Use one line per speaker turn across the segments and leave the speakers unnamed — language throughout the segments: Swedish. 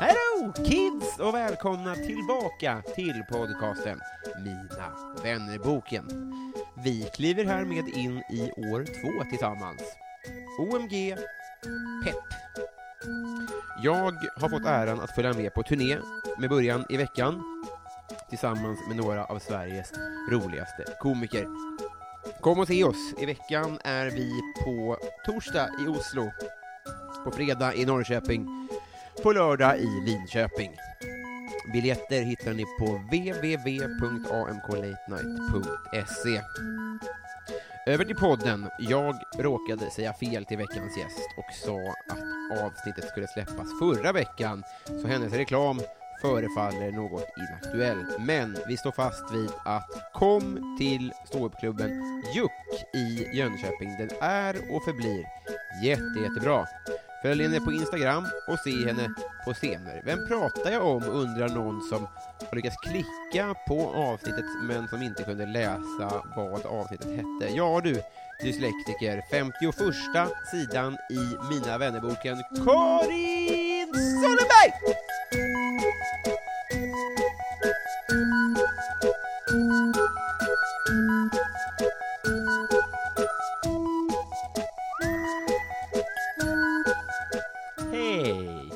Hello kids och välkomna tillbaka till podcasten Mina vännerboken. Vi kliver härmed in i år två tillsammans. OMG, pepp. Jag har fått äran att följa med på turné med början i veckan tillsammans med några av Sveriges roligaste komiker. Kom och se oss! I veckan är vi på torsdag i Oslo, på fredag i Norrköping på lördag i Linköping. Biljetter hittar ni på www.amklatenight.se. Över till podden. Jag råkade säga fel till veckans gäst och sa att avsnittet skulle släppas förra veckan, så hennes reklam förefaller något inaktuell. Men vi står fast vid att kom till ståuppklubben Juck i Jönköping. Den är och förblir jätte, jättebra. Följ henne på Instagram och se henne på scener. Vem pratar jag om, undrar någon som har lyckats klicka på avsnittet men som inte kunde läsa vad avsnittet hette. Ja du, dyslektiker, 51 sidan i Mina vännerboken Karin Sonnenberg! Hej!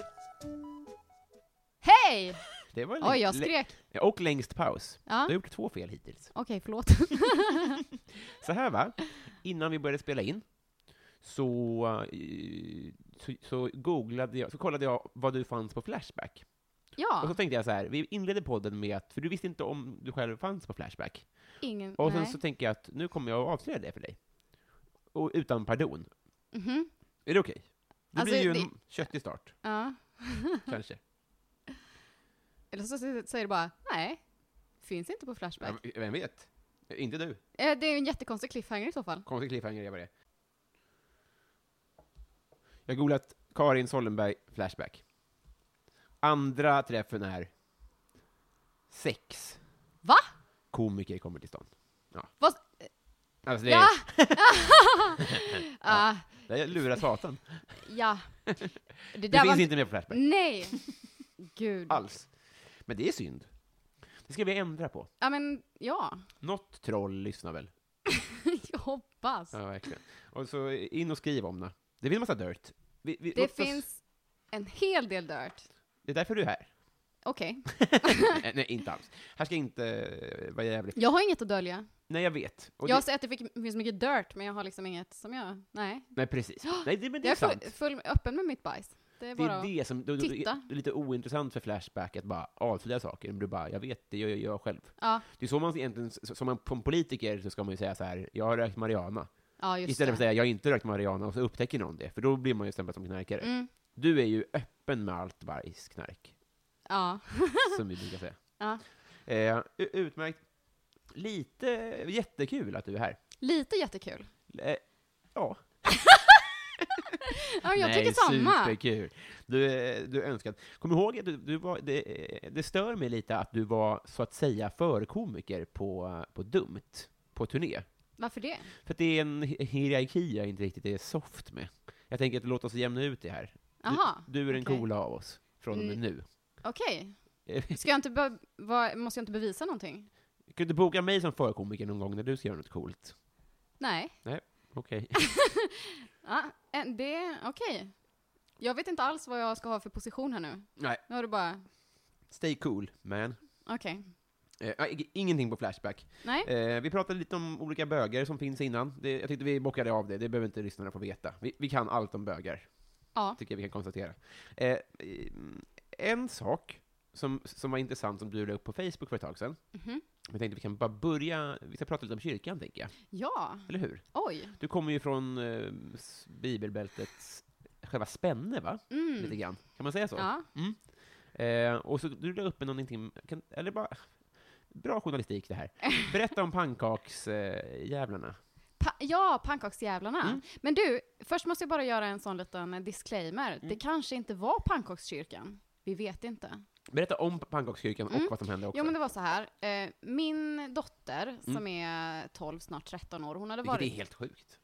Hej!
Det var en
Oj,
läng-
jag skrek.
lä- Och längst paus. Du
Ja,
har gjort två fel hittills.
okej, förlåt.
Så här va, innan vi började spela in så, eh, så, så googlade jag, så kollade jag vad du fanns på Flashback. Och så
Ja,
tänkte jag så här, vi inledde podden med att, för du visste inte om du själv fanns på Flashback.
ingen...
Och sen
nej.
så tänker jag att nu kommer jag att avslöja det för dig. Och utan pardon.
Mhm,
Är det okej? Det
Alltså,
blir ju en
det-
köttig start,
ja.
kanske.
Eller så s- säger du bara, nej, finns inte på Flashback.
Ja, Vem vet? Inte du.
Eh, Det är ju en jättekonstig cliffhanger i så fall.
Konstig cliffhanger, jag bara det. Jag har googlat Karin Sollenberg Flashback. Andra träffen är sex
Va?
komiker kommer till stånd.
Vad?
Alltså det,
Ja! Ah,
det är lurat satan.
ja. Det
Det
där
finns
var... Mm.
inte med på Flashback
Nej! Gud.
alls. Men det är synd. Det ska vi ändra på.
Ja, men ja.
Något troll lyssnar väl?
Jag hoppas.
Ja, verkligen. Och så in och skriv om det. Det finns en massa dirt. Vi, vi,
Det
låt oss-
finns en hel del dirt.
Det är därför du är här.
Okej.
nej, nej, inte alls. Här ska inte eh, vara jävligt.
Jag har inget att dölja.
Nej, jag vet. Och
Jag har
det...
sett att det fick- finns mycket dirt, men jag har liksom inget som jag... Nej.
Nej, precis. Nej, det, men det
Jag
är
är full,
sant.
full, öppen med mitt bajs. Det är
Det
bara
är det som då, då, det
titta.
är lite ointressant för Flashback att bara avslöja saker. Men du bara, jag vet, det gör jag, jag själv.
Ja,
Det är så man egentligen, som man som politiker så ska man ju säga så här, jag har rökt marijuana.
ja just
Istället för
det.
att säga, jag har inte rökt marijuana, och så upptäcker någon det. För då blir man ju stämplad som knarkare.
Mm,
Du är ju öppen med allt bajsknark,
ja.
som vi brukar säga.
Ja.
Eh, u- utmärkt. Lite jättekul att du är här.
Lite jättekul.
Eh, ja.
Ja, jag
Nej,
tycker samma.
superkul. Du, eh, du är önskad. Kom ihåg att du, du var, det, eh, det stör mig lite att du var så att säga förkomiker på, på Dumt, på turné.
Varför det?
För att det är en hi- hierarki jag inte riktigt är soft med. Jag tänker att låt oss jämna ut det här.
Aha,
Du är den
okej.
coola av oss, från och med nu.
okej.
Eh,
Ska jag inte be- vad- Måste jag inte bevisa någonting?
Kan du inte boka mig som förkomiker någon gång när du ska göra något coolt?
Nej.
Okej.
Ja, eh, det, okej. Jag vet inte alls vad jag ska ha för position här nu.
Nej.
Nu har du bara,
Stay cool, man.
okej.
Eh, ja, ing- ingenting på Flashback.
Nej.
Eh, vi pratade lite om olika bögar som finns innan. Det, jag tyckte vi bockade av det, det behöver inte lyssnarna få veta. Vi, vi kan allt om bögar,
Ja.
tycker jag vi kan konstatera. Eh, mm, en sak som, som var intressant som du la upp på Facebook för ett tag sedan,
Mhm.
jag tänkte vi kan bara börja, vi ska prata lite om kyrkan, tänker jag.
Ja.
Eller hur?
Oj.
Du kommer ju från eh, s- bibelbältets själva spänne, va? Lite
Mm.
grann. Kan man säga så?
Ja.
Eh, och så du la upp en någonting, kan, eller bara, bra journalistik det här. Berätta om pannkaksjävlarna. Eh, jävlarna.
Pa- ja, pannkaksjävlarna.
Mm.
Men du, först måste jag bara göra en sån liten disclaimer.
Mm.
Det kanske inte var pannkakskyrkan. Vi vet inte.
Berätta om pannkakskyrkan
Mm.
och vad som hände också.
Jo men det var så här. Eh, min dotter som är 12, snart 13 år, hon hade
Mm. Vilket
varit...
är helt sjukt.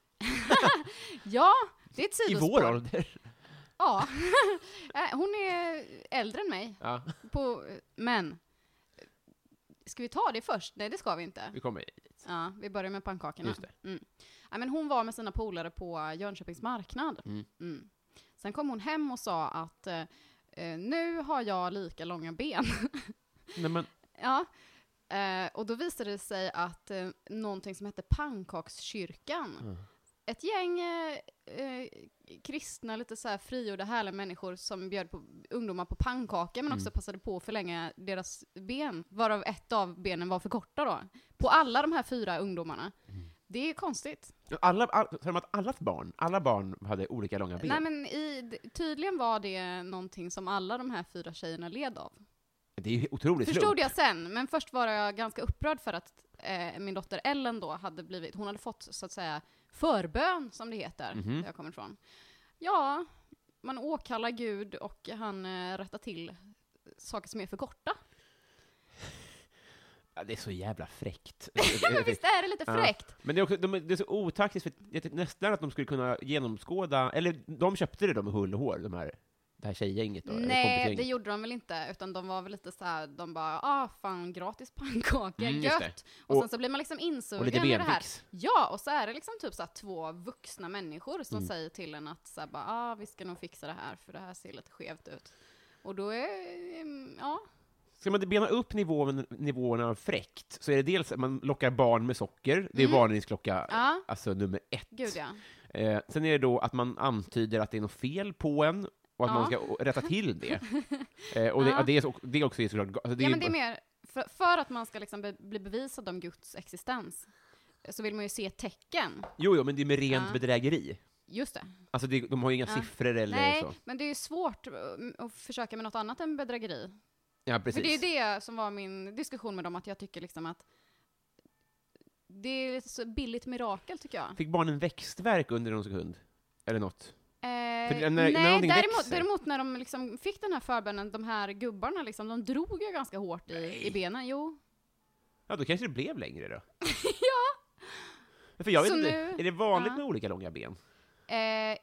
Ja, det är ett
I
sidospår.
vår ålder.
Ja. Eh, hon är äldre än mig.
Ja,
På... Men. Ska vi ta det först? Nej det ska vi inte.
vi kommer dit.
Ja, vi börjar med pannkakorna.
Just det.
Mm. Ja, men hon var med sina polare på Jönköpings marknad.
Mm.
Mm. Sen kom hon hem och sa att eh, eh, nu har jag lika långa ben.
Nej, men,
ja. eh, och då visade det sig att eh, någonting som hette pannkakskyrkan,
Mm.
ett gäng eh, eh, kristna, lite så här frigjorda, härliga människor som bjöd på ungdomar på pannkaka men också passade på att förlänga deras ben, varav ett av benen var för korta då. På alla de här fyra ungdomarna. Det är konstigt.
alla, all, sa de att allas barn, alla barn hade olika långa ben?
Nej men i, d- tydligen var det någonting som alla de här fyra tjejerna led av.
Det är ju otroligt
Förstod
slump.
jag sen, men först var jag ganska upprörd för att eh, min dotter Ellen då hade blivit, hon hade fått så att säga förbön som det heter,
Mhm.
där jag kommer ifrån. Ja, man åkallar Gud och han eh, rättar till saker som är för korta.
Ja, Det är så jävla fräckt.
Men visst är det lite
Ja.
fräckt?
Men det är, också, de, är- det är så otaktiskt, för jag tyckte nästan att de skulle kunna genomskåda, eller de köpte det de med hull och hår, de här, det här tjejgänget då, eller
Nej, det
kompisgänget.
gjorde de väl inte, utan de var väl lite så här, de bara ah fan gratis pannkaka,
Mm, just det.
gött! Och,
Och-
sen så blir man liksom
Och lite
insugen i det här.
benfix.
Ja, och så är det liksom typ så här två vuxna människor som
Mm.
säger till en att så här bara, ah, vi ska nog fixa det här för det här ser lite skevt ut. Och då är, mm, ja,
Ska man bena upp nivån, nivåerna av fräckt, så är det dels att man lockar barn med socker, det är varningsklocka
Mhm. Ja.
alltså nummer ett.
gud ja.
Eh, sen är det då att man antyder att det är något fel på en, och att
Ja.
man ska å- rätta till det. Eh, och det,
Ja.
ja. det, är, så- det är också såklart... Alltså det
ja
är-
men det är mer, för, för att man ska liksom be, bli bevisad om Guds existens, så vill man ju se tecken.
Jo, jo, men det är med rent
Ja.
bedrägeri.
Just det.
Alltså, det, de har ju inga
Ja.
siffror eller
Nej,
så.
men det är ju svårt mm, att försöka med något annat än bedrägeri.
Ja, precis.
För det är ju det som var min diskussion med dem, att jag tycker liksom att det är ett så billigt mirakel tycker jag.
Fick barnen växtverk under någon sekund? Eller något?
Eh,
För när- när
nej,
någonting
däremot,
växer-
däremot när de liksom fick den här förbönen, de här gubbarna liksom, de drog ju ganska hårt i, i benen. Jo.
Ja, då kanske det blev längre då. ja! För jag vet
Så
inte,
nu-
är det vanligt
ja.
med olika långa ben?
Eh,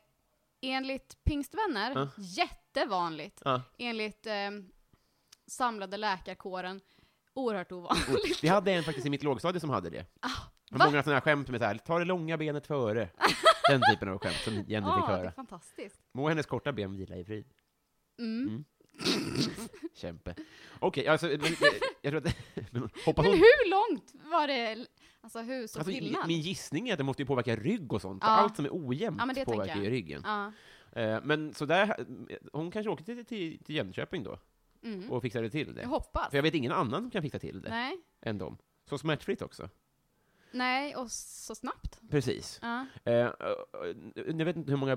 enligt pingstvänner,
Ja.
jättevanligt.
Ja.
Enligt eh, samlade läkarkåren, oerhört ovanligt.
Vi hade en faktiskt i mitt lågstadie som hade det. Det var
Ah, va?
många sådana här skämt med så här, ta det långa benet före. Den typen av skämt som Jenny fick
Ja, det är
höra.
fantastiskt.
Må hennes korta ben vila i frid.
Mm.
Kämpe. Okej, alltså, men, jag tror att... men, hoppas
Men
hon...
hur långt var det, alltså hur så
Alltså,
skillnad?
min gissning är att det måste ju påverka rygg och sånt.
Ja.
Allt som är ojämnt
Ja, men det tänker
påverkar ju
jag.
ryggen.
Ja.
Eh, Men så där, eh, hon kanske åkte till, till, till Jönköping då
Mm.
och fixade till det.
Jag hoppas.
För jag vet ingen annan som kan fixa till det
Nej.
än dem. Så smärtfritt också.
Nej, och så snabbt.
Precis.
Ja.
Eh, eh, jag vet inte hur många,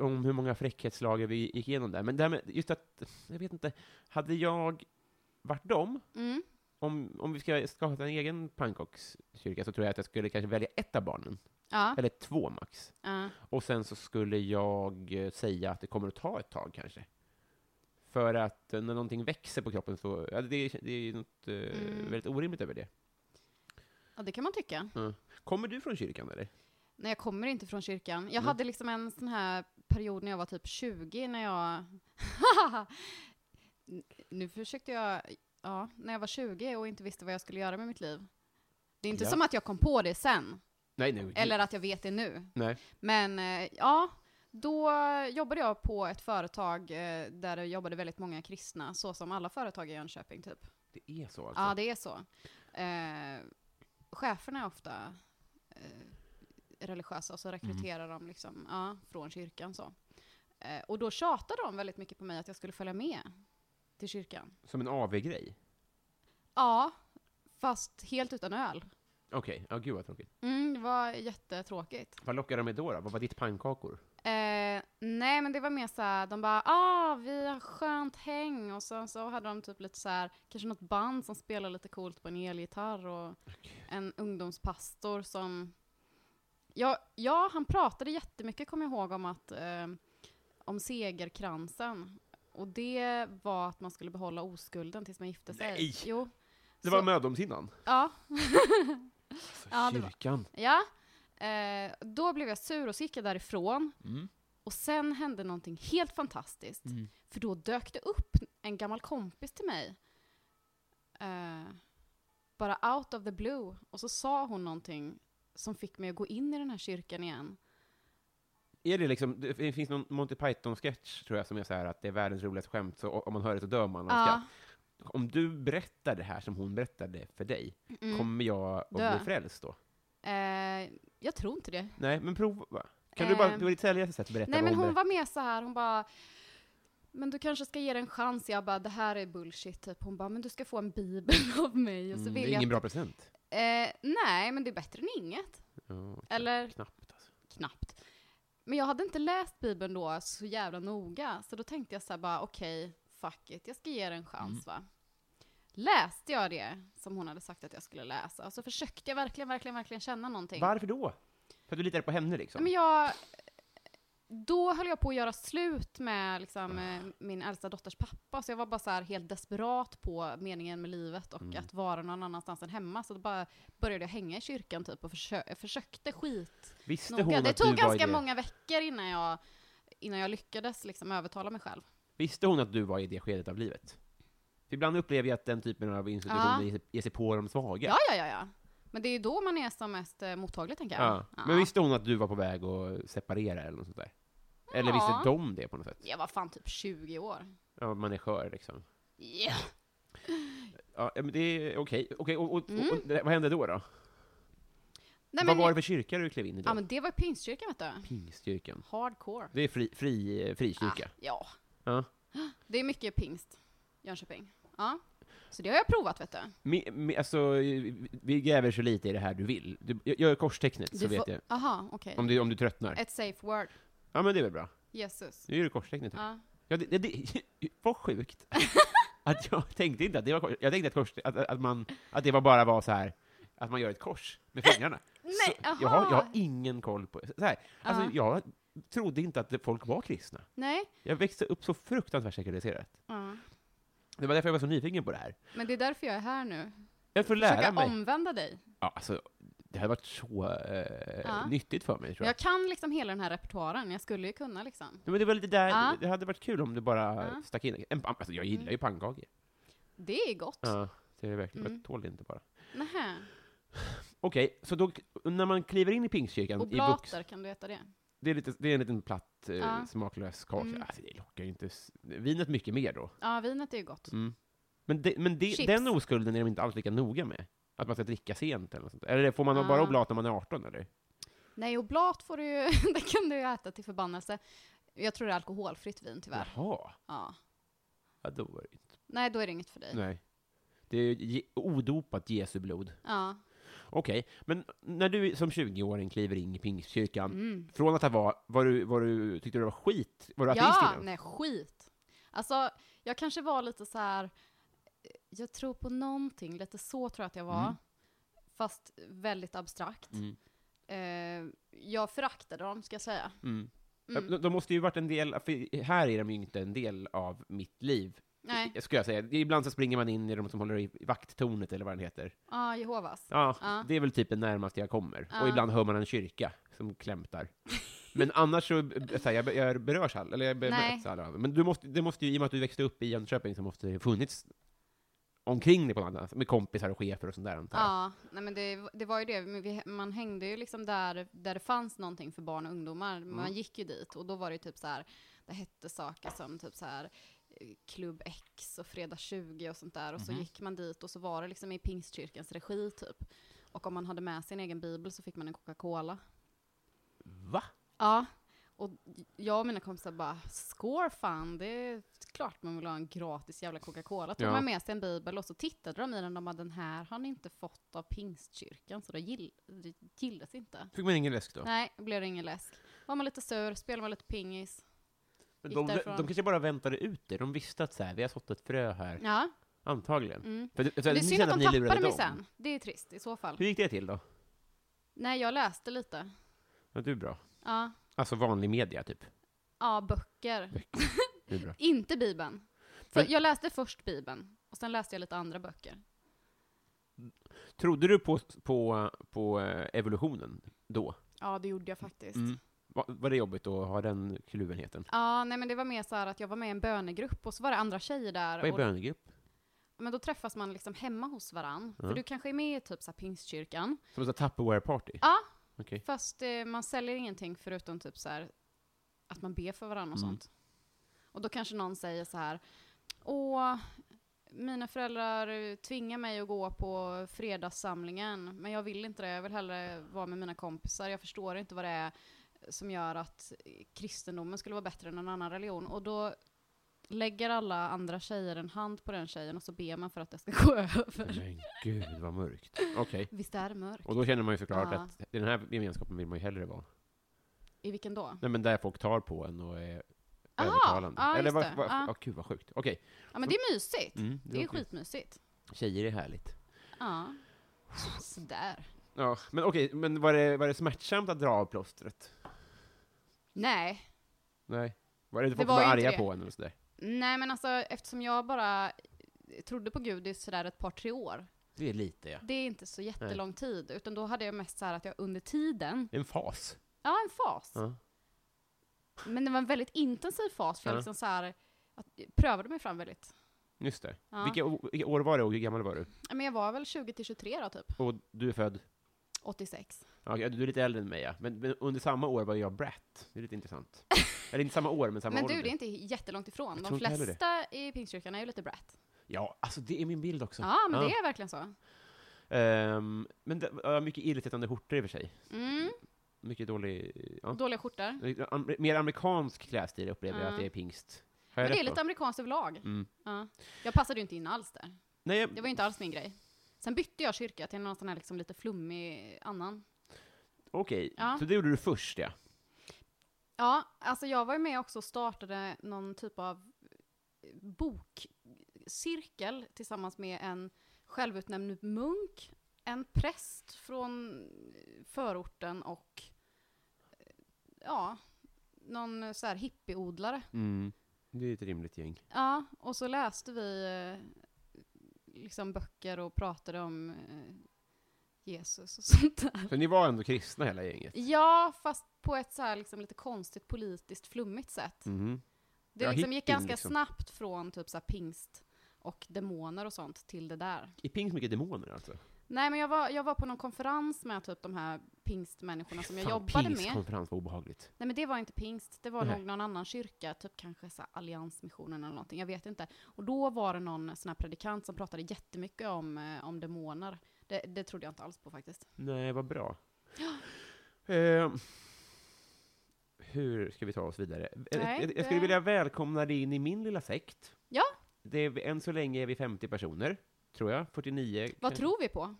om hur många fräckhetslager vi gick igenom där, men det här med, just att, jag vet inte, hade jag varit dem,
Mm.
om, om vi ska skapa en egen pannkakskyrka, så tror jag att jag skulle kanske välja ett av barnen,
Ja.
eller två max.
ja.
Och sen så skulle jag eh, säga att det kommer att ta ett tag kanske. För att eh, när någonting växer på kroppen så, ja, det, det är ju något eh,
Mm.
väldigt orimligt över det.
Ja, det kan man tycka.
Kommer du från kyrkan eller?
Nej, jag kommer inte från kyrkan.
Mm.
Jag hade liksom en sån här period när jag var typ 20, när jag... N- nu försökte jag... Ja, när jag var 20 och inte visste vad jag skulle göra med mitt liv. Det är inte
Ja.
som att jag kom på det sen,
Nej, nej.
eller att jag vet det nu.
Nej.
Men eh, ja, då jobbade jag på ett företag eh, där det jobbade väldigt många kristna, så som alla företag i Jönköping typ.
Det är så alltså?
Ja, det är så. Eh, cheferna är ofta eh, religiösa och så rekryterar de liksom, ja, från kyrkan. Så. Eh, och då tjatade de väldigt mycket på mig att jag skulle följa med till kyrkan.
Som en AV-grej?
Ja, fast helt utan öl.
Okej, ja gud vad tråkigt.
Mm, det var jättetråkigt.
Vad lockade de med då? då? Vad var ditt pannkakor?
Eh, nej, men det var mer så här, de bara ah, vi har skönt häng och sen så hade de typ lite så här, kanske något band som spelar lite coolt på en elgitarr och en ungdomspastor som, ja, ja han pratade jättemycket kommer jag ihåg om att, eh, om segerkransen. Och det var att man skulle behålla oskulden tills man gifte sig.
Nej!
Jo.
Det
Så-
var mödomshinnan?
Ja.
Alltså,
Ja, det var-
kyrkan?
Ja. Eh, då blev jag sur och så gick jag därifrån.
Mm.
Och sen hände någonting helt fantastiskt. För då dök det upp en gammal kompis till mig. Eh, bara out of the blue. Och så sa hon någonting som fick mig att gå in i den här kyrkan igen.
Är det liksom, det finns någon Monty Python-sketch tror jag som är så här att det är världens roligaste skämt, så om man hör det så dör man av
Ja.
skratt. Om du berättar det här som hon berättade för dig, kommer jag att
Dö.
bli frälst då?
Eh, jag tror inte det.
Nej, men prova. Kan du bara,
Ehm.
på ditt säljaste sätt, berätta
Nej
vad
men
hon
hon
berättade?
var med så här, hon bara men du kanske ska ge det en chans. Jag bara, det här är bullshit. Typ. Hon bara, men du ska få en bibel av mig. Och så
Mm,
vill
det är
jag
ingen
inte-
bra present.
Eh, nej, men det är bättre än inget.
Ja,
Eller
knappt alltså.
knappt. Men jag hade inte läst Bibeln då så jävla noga, så då tänkte jag så här bara okej, fuck it, jag ska ge det en chans va. Läste jag det som hon hade sagt att jag skulle läsa, och så försökte jag verkligen, verkligen, verkligen känna någonting.
Varför då? För att du litar på henne liksom?
Men jag, då höll jag på att göra slut med
Ah.
liksom, eh, min äldsta dotters pappa, så jag var bara så här helt desperat på meningen med livet och
Mm.
att vara någon annanstans än hemma, så då bara började jag hänga i kyrkan typ och försö- försökte skit
Visste
Noga.
hon
Det
att du
tog
var i
ganska
det?
många veckor innan jag, innan jag lyckades liksom övertala mig själv.
Visste hon att du var i det skedet av livet? För ibland upplever jag att den typen av institutioner
Ja.
ger sig- ger sig på de svaga.
Ja, ja, ja. ja. Men det är ju då man är som mest eh, mottaglig, tänker jag.
Ja. Men visste hon att du var på väg att separera eller något sånt där? Eller
Ja.
visste de det på något sätt?
Jag var fan typ 20 år.
Ja, man är skör liksom.
Yeah.
Ja, men det är okej. Okej, och, och, och, det- vad hände då? då? vad
Nej, Mm. men,
var det för kyrka du klev in i då?
ja, men det var ju pingstkyrkan, vet du.
Pingstkyrkan.
Hardcore.
Det är fri, fri, frikyrka.
Ah, ja.
Ja.
Det är mycket pingst, Jönköping. Ja. Så det har jag provat, vet du.
Mi, mi, alltså, vi gräver så lite i det här du vill. Du, jag gör korstecknet, så
Du
vet
får-
jag.
Aha, okej.
Om du, om du tröttnar.
Ett safe word.
Ja, men det är väl bra.
Jesus.
Nu gör du korstecknet. typ. Ja,
Ja.
ja det, det, det var sjukt. att jag tänkte inte att det var kors. Jag tänkte att, kors, att, att, man, att det var bara var så här att man gör ett kors med fingrarna.
Nej, aha.
Jag har, jag har ingen koll på så här. Alltså,
Ja.
jag trodde inte att det- folk var kristna.
Nej.
Jag växte upp så fruktansvärt sekulariserat.
Ja.
Det var därför jag var så nyfiken på det här.
Men det är därför jag är här nu.
Jag får lära
Försöka
mig.
omvända dig.
Ja, alltså, det hade varit så eh,
Ja.
nyttigt för mig, tror jag.
Jag kan liksom hela den här repertoaren, jag skulle ju kunna liksom.
Nej, Men det var lite där,
Ja.
det hade varit kul om du bara
Ja. Mm.
stack in en, pan- alltså, jag gillar ju pannkakor.
Det är gott.
Ja, det är verkligen,
Mm.
jag tål det inte bara.
Nähä.
Okej, så då, när man kliver in i pingstkyrkan
Och
i vux,
blater, kan du äta det?
det är, lite, det är en liten platt, eh,
Ja.
smaklös kaka.
Mm.
Alltså, det lockar ju inte s- vinet mycket mer då.
Ja, vinet är ju gott.
Mm. Men, det, men det,
Chips.
den oskulden är de inte alls lika noga med. Att man ska dricka sent eller något sånt. Eller får man
Ja.
bara oblat när man är 18 eller?
Nej, och blat får du ju, det kan du ju äta till förbannelse. Jag tror det är alkoholfritt vin tyvärr.
Jaha.
Ja.
Ja, då var det inte.
Nej, då är det inget för dig.
Nej. Det är ju ge- odopat Jesu blod.
Ja.
Okej, men när du som 20-åring kliver in i pingstkyrkan,
Mm.
från att det var, var du, var du, tyckte du det var skit? Var du ateist
Ja,
innan?
nej skit. Alltså, jag kanske var lite så här. eh, jag tror på någonting, lite så tror jag att jag var.
Mm.
Fast väldigt abstrakt.
Mm.
Eh, jag föraktade dem, ska jag säga.
Mm.
Mm.
De, de måste ju varit en del, för här är de ju inte en del av mitt liv,
Nej,
eh, skulle jag säga. Ibland så springer man in i de som håller i vakttornet eller vad den heter.
ja, ah, Jehovas.
Ja,
Ja.
det är väl typ det närmaste jag kommer.
Ja.
Och ibland hör man en kyrka som klämtar. Men annars så, eh, så här, jag, jag berörs all, eller jag bemöts
Nej.
aldrig av det. Men du måste, det måste ju, i och med att du växte upp i Jönköping, så måste det ju funnits omkring dig på något annat, med kompisar och chefer och sånt där antar jag.
Ja, nej men det, det var ju det. Men Vi, man hängde ju liksom där, där det fanns någonting
Mm.
för barn och ungdomar. Man gick ju dit och då var det ju typ så här, det hette saker som typ så här, Klubb X och Fredag 20 och sånt där. Och så
Mhm.
gick man dit och så var det liksom i Pingstkyrkans regi typ. Och om man hade med sin egen bibel så fick man en Coca-Cola.
Va?
Ja, och jag och mina kompisar bara score fan, det är klart man vill ha en gratis jävla Coca-Cola. Tog
Ja.
man med sig en bibel och så tittade de i den och de bara den här har ni inte fått av pingstkyrkan så det, gill, det gillas inte.
Fick man ingen läsk då?
Nej, blev det ingen läsk. Var man lite sur, spelade man lite pingis.
Men
Gick
de,
därifrån.
de kanske bara väntade ut det. De visste att så här, vi har sått ett frö här.
Ja,
Antagligen.
mm.
För, det- så
Det är
ni
synd
kände
att de
ni lurade
tappade mig
dem.
sen. Det är trist i så fall.
Hur gick det till då?
Nej, jag läste lite.
Ja, du är bra.
Ja,
Alltså vanlig media, typ.
ja böcker.
Du är bra.
Inte Bibeln. För
Men-
jag läste först Bibeln och sen läste jag lite andra böcker.
Trodde du på, på, på eh, evolutionen då?
Ja, det gjorde jag faktiskt.
Mm. Va, var det jobbigt att ha den kluvenheten?
Ja, nej men det var mer så här att jag var med i en bönegrupp och så var det andra tjejer där.
Vad är
och,
bönegrupp?
men då träffas man liksom hemma hos varann. För
Ja.
du kanske är med i typ så här pingstkyrkan.
Som ett sånt här Tupperware-party?
Ja.
Okej.
Fast eh, man säljer ingenting förutom typ så här att man ber för varann och
Mm.
sånt. Och då kanske någon säger så här, åh, mina föräldrar eh, tvingar mig att gå på fredagssamlingen, men jag vill inte det, jag vill hellre vara med mina kompisar, jag förstår inte vad det är som gör att eh, kristendomen skulle vara bättre än en annan religion. Och då lägger alla andra tjejer en hand på den tjejen och så ber man för att det ska gå över.
Men gud, vad mörkt. Okej.
Visst är det mörkt?
Mm. Och då känner man ju såklart
Ja.
att i den här gemenskapen vill man ju hellre vara.
I vilken då?
Nej men där folk tar på en och är
Aha,
övertalande.
ja,
Eller
just
vad,
det,
vad,
ja.
ja, gud vad sjukt. Okej.
Ja men det är mysigt.
Mm,
Det är
var kul.
skitmysigt.
Tjejer är härligt.
Ja. Sådär.
Ja, men okej, men var det, var det smärtsamt att dra av plåstret?
Nej.
Nej. Var det inte
Det
folk
var
som var
ju inte
arga
det.
på en och sådär?
Nej men alltså eftersom jag bara trodde på Gud i sådär ett par tre år.
Det är lite ja.
Det är inte så jättelång tid. Utan då hade jag mest så här att jag under tiden,
En fas.
ja en fas.
Ja.
Men det var en väldigt intensiv fas för jag
Ja.
liksom så här, att, prövade mig fram väldigt.
Just det.
Ja.
Vilka, o- vilka år var det och hur gammal var du?
Ja, Men jag var väl 20 till 23 då typ,
Och du är född?
86.
Ja, okej, du är lite äldre än mig ja. Men, men under samma år var jag brat. Det är lite intressant. Eller inte samma år, men samma
men
år.
du,
ålder.
det är inte jättelångt ifrån.
Jag
De
tror inte heller det.
flesta i pingstkyrkan är ju lite brat.
Ja, alltså det är min bild också.
Ja, men det är verkligen så.
Ehm, men det, ja, mycket illasittande skjortor i och för sig.
Mm.
Mycket dålig... Ja.
Dåliga skjortor.
Am- mer amerikansk klädstil upplever jag
Ja.
att det är pingst. Har jag
Mm. Men det är
rätt då?
lite amerikanskt överlag.
Mm.
Ja. Jag passade ju inte in alls där.
Nej, jag-
Det var ju inte alls min grej. Sen bytte jag kyrka till någon sån här liksom lite flummig annan.
okej.
Ja.
Så det gjorde du först, ja.
Ja, alltså jag var ju med också och startade någon typ av bokcirkel tillsammans med en självutnämnd munk, en präst från förorten och ja, någon så här hippieodlare.
Det är ett rimligt gäng.
Ja, och så läste vi eh, liksom böcker och pratade om eh, Jesus och sånt där.
Så ni var ändå kristna hela gänget?
Ja, fast på ett så här liksom lite konstigt politiskt flummigt sätt.
Mhm.
Det
Ja,
Mm. liksom gick
hippien,
ganska
liksom.
snabbt från typ så här pingst och demoner och sånt till det där.
Är pingst mycket demoner alltså?
Nej, men jag var, jag var på någon konferens med typ de här pingstmänniskorna som jag
Fan,
jobbade med.
pingstkonferens var obehagligt.
Nej, men det var inte pingst. Det var
Nej.
nog någon annan kyrka, typ kanske så här Alliansmissionen eller någonting. Jag vet inte. Och då var det någon sån här predikant som pratade jättemycket om, eh, om demoner. Det, det trodde jag inte alls på faktiskt.
Nej, vad bra. Ehm, hur ska vi ta oss vidare? Eh,
Nej,
jag, jag
det-
skulle vilja välkomna dig in i min lilla sekt.
Ja.
Det är, än så länge är vi 50 personer, tror jag. 49.
Vad
kanske.
tror vi på?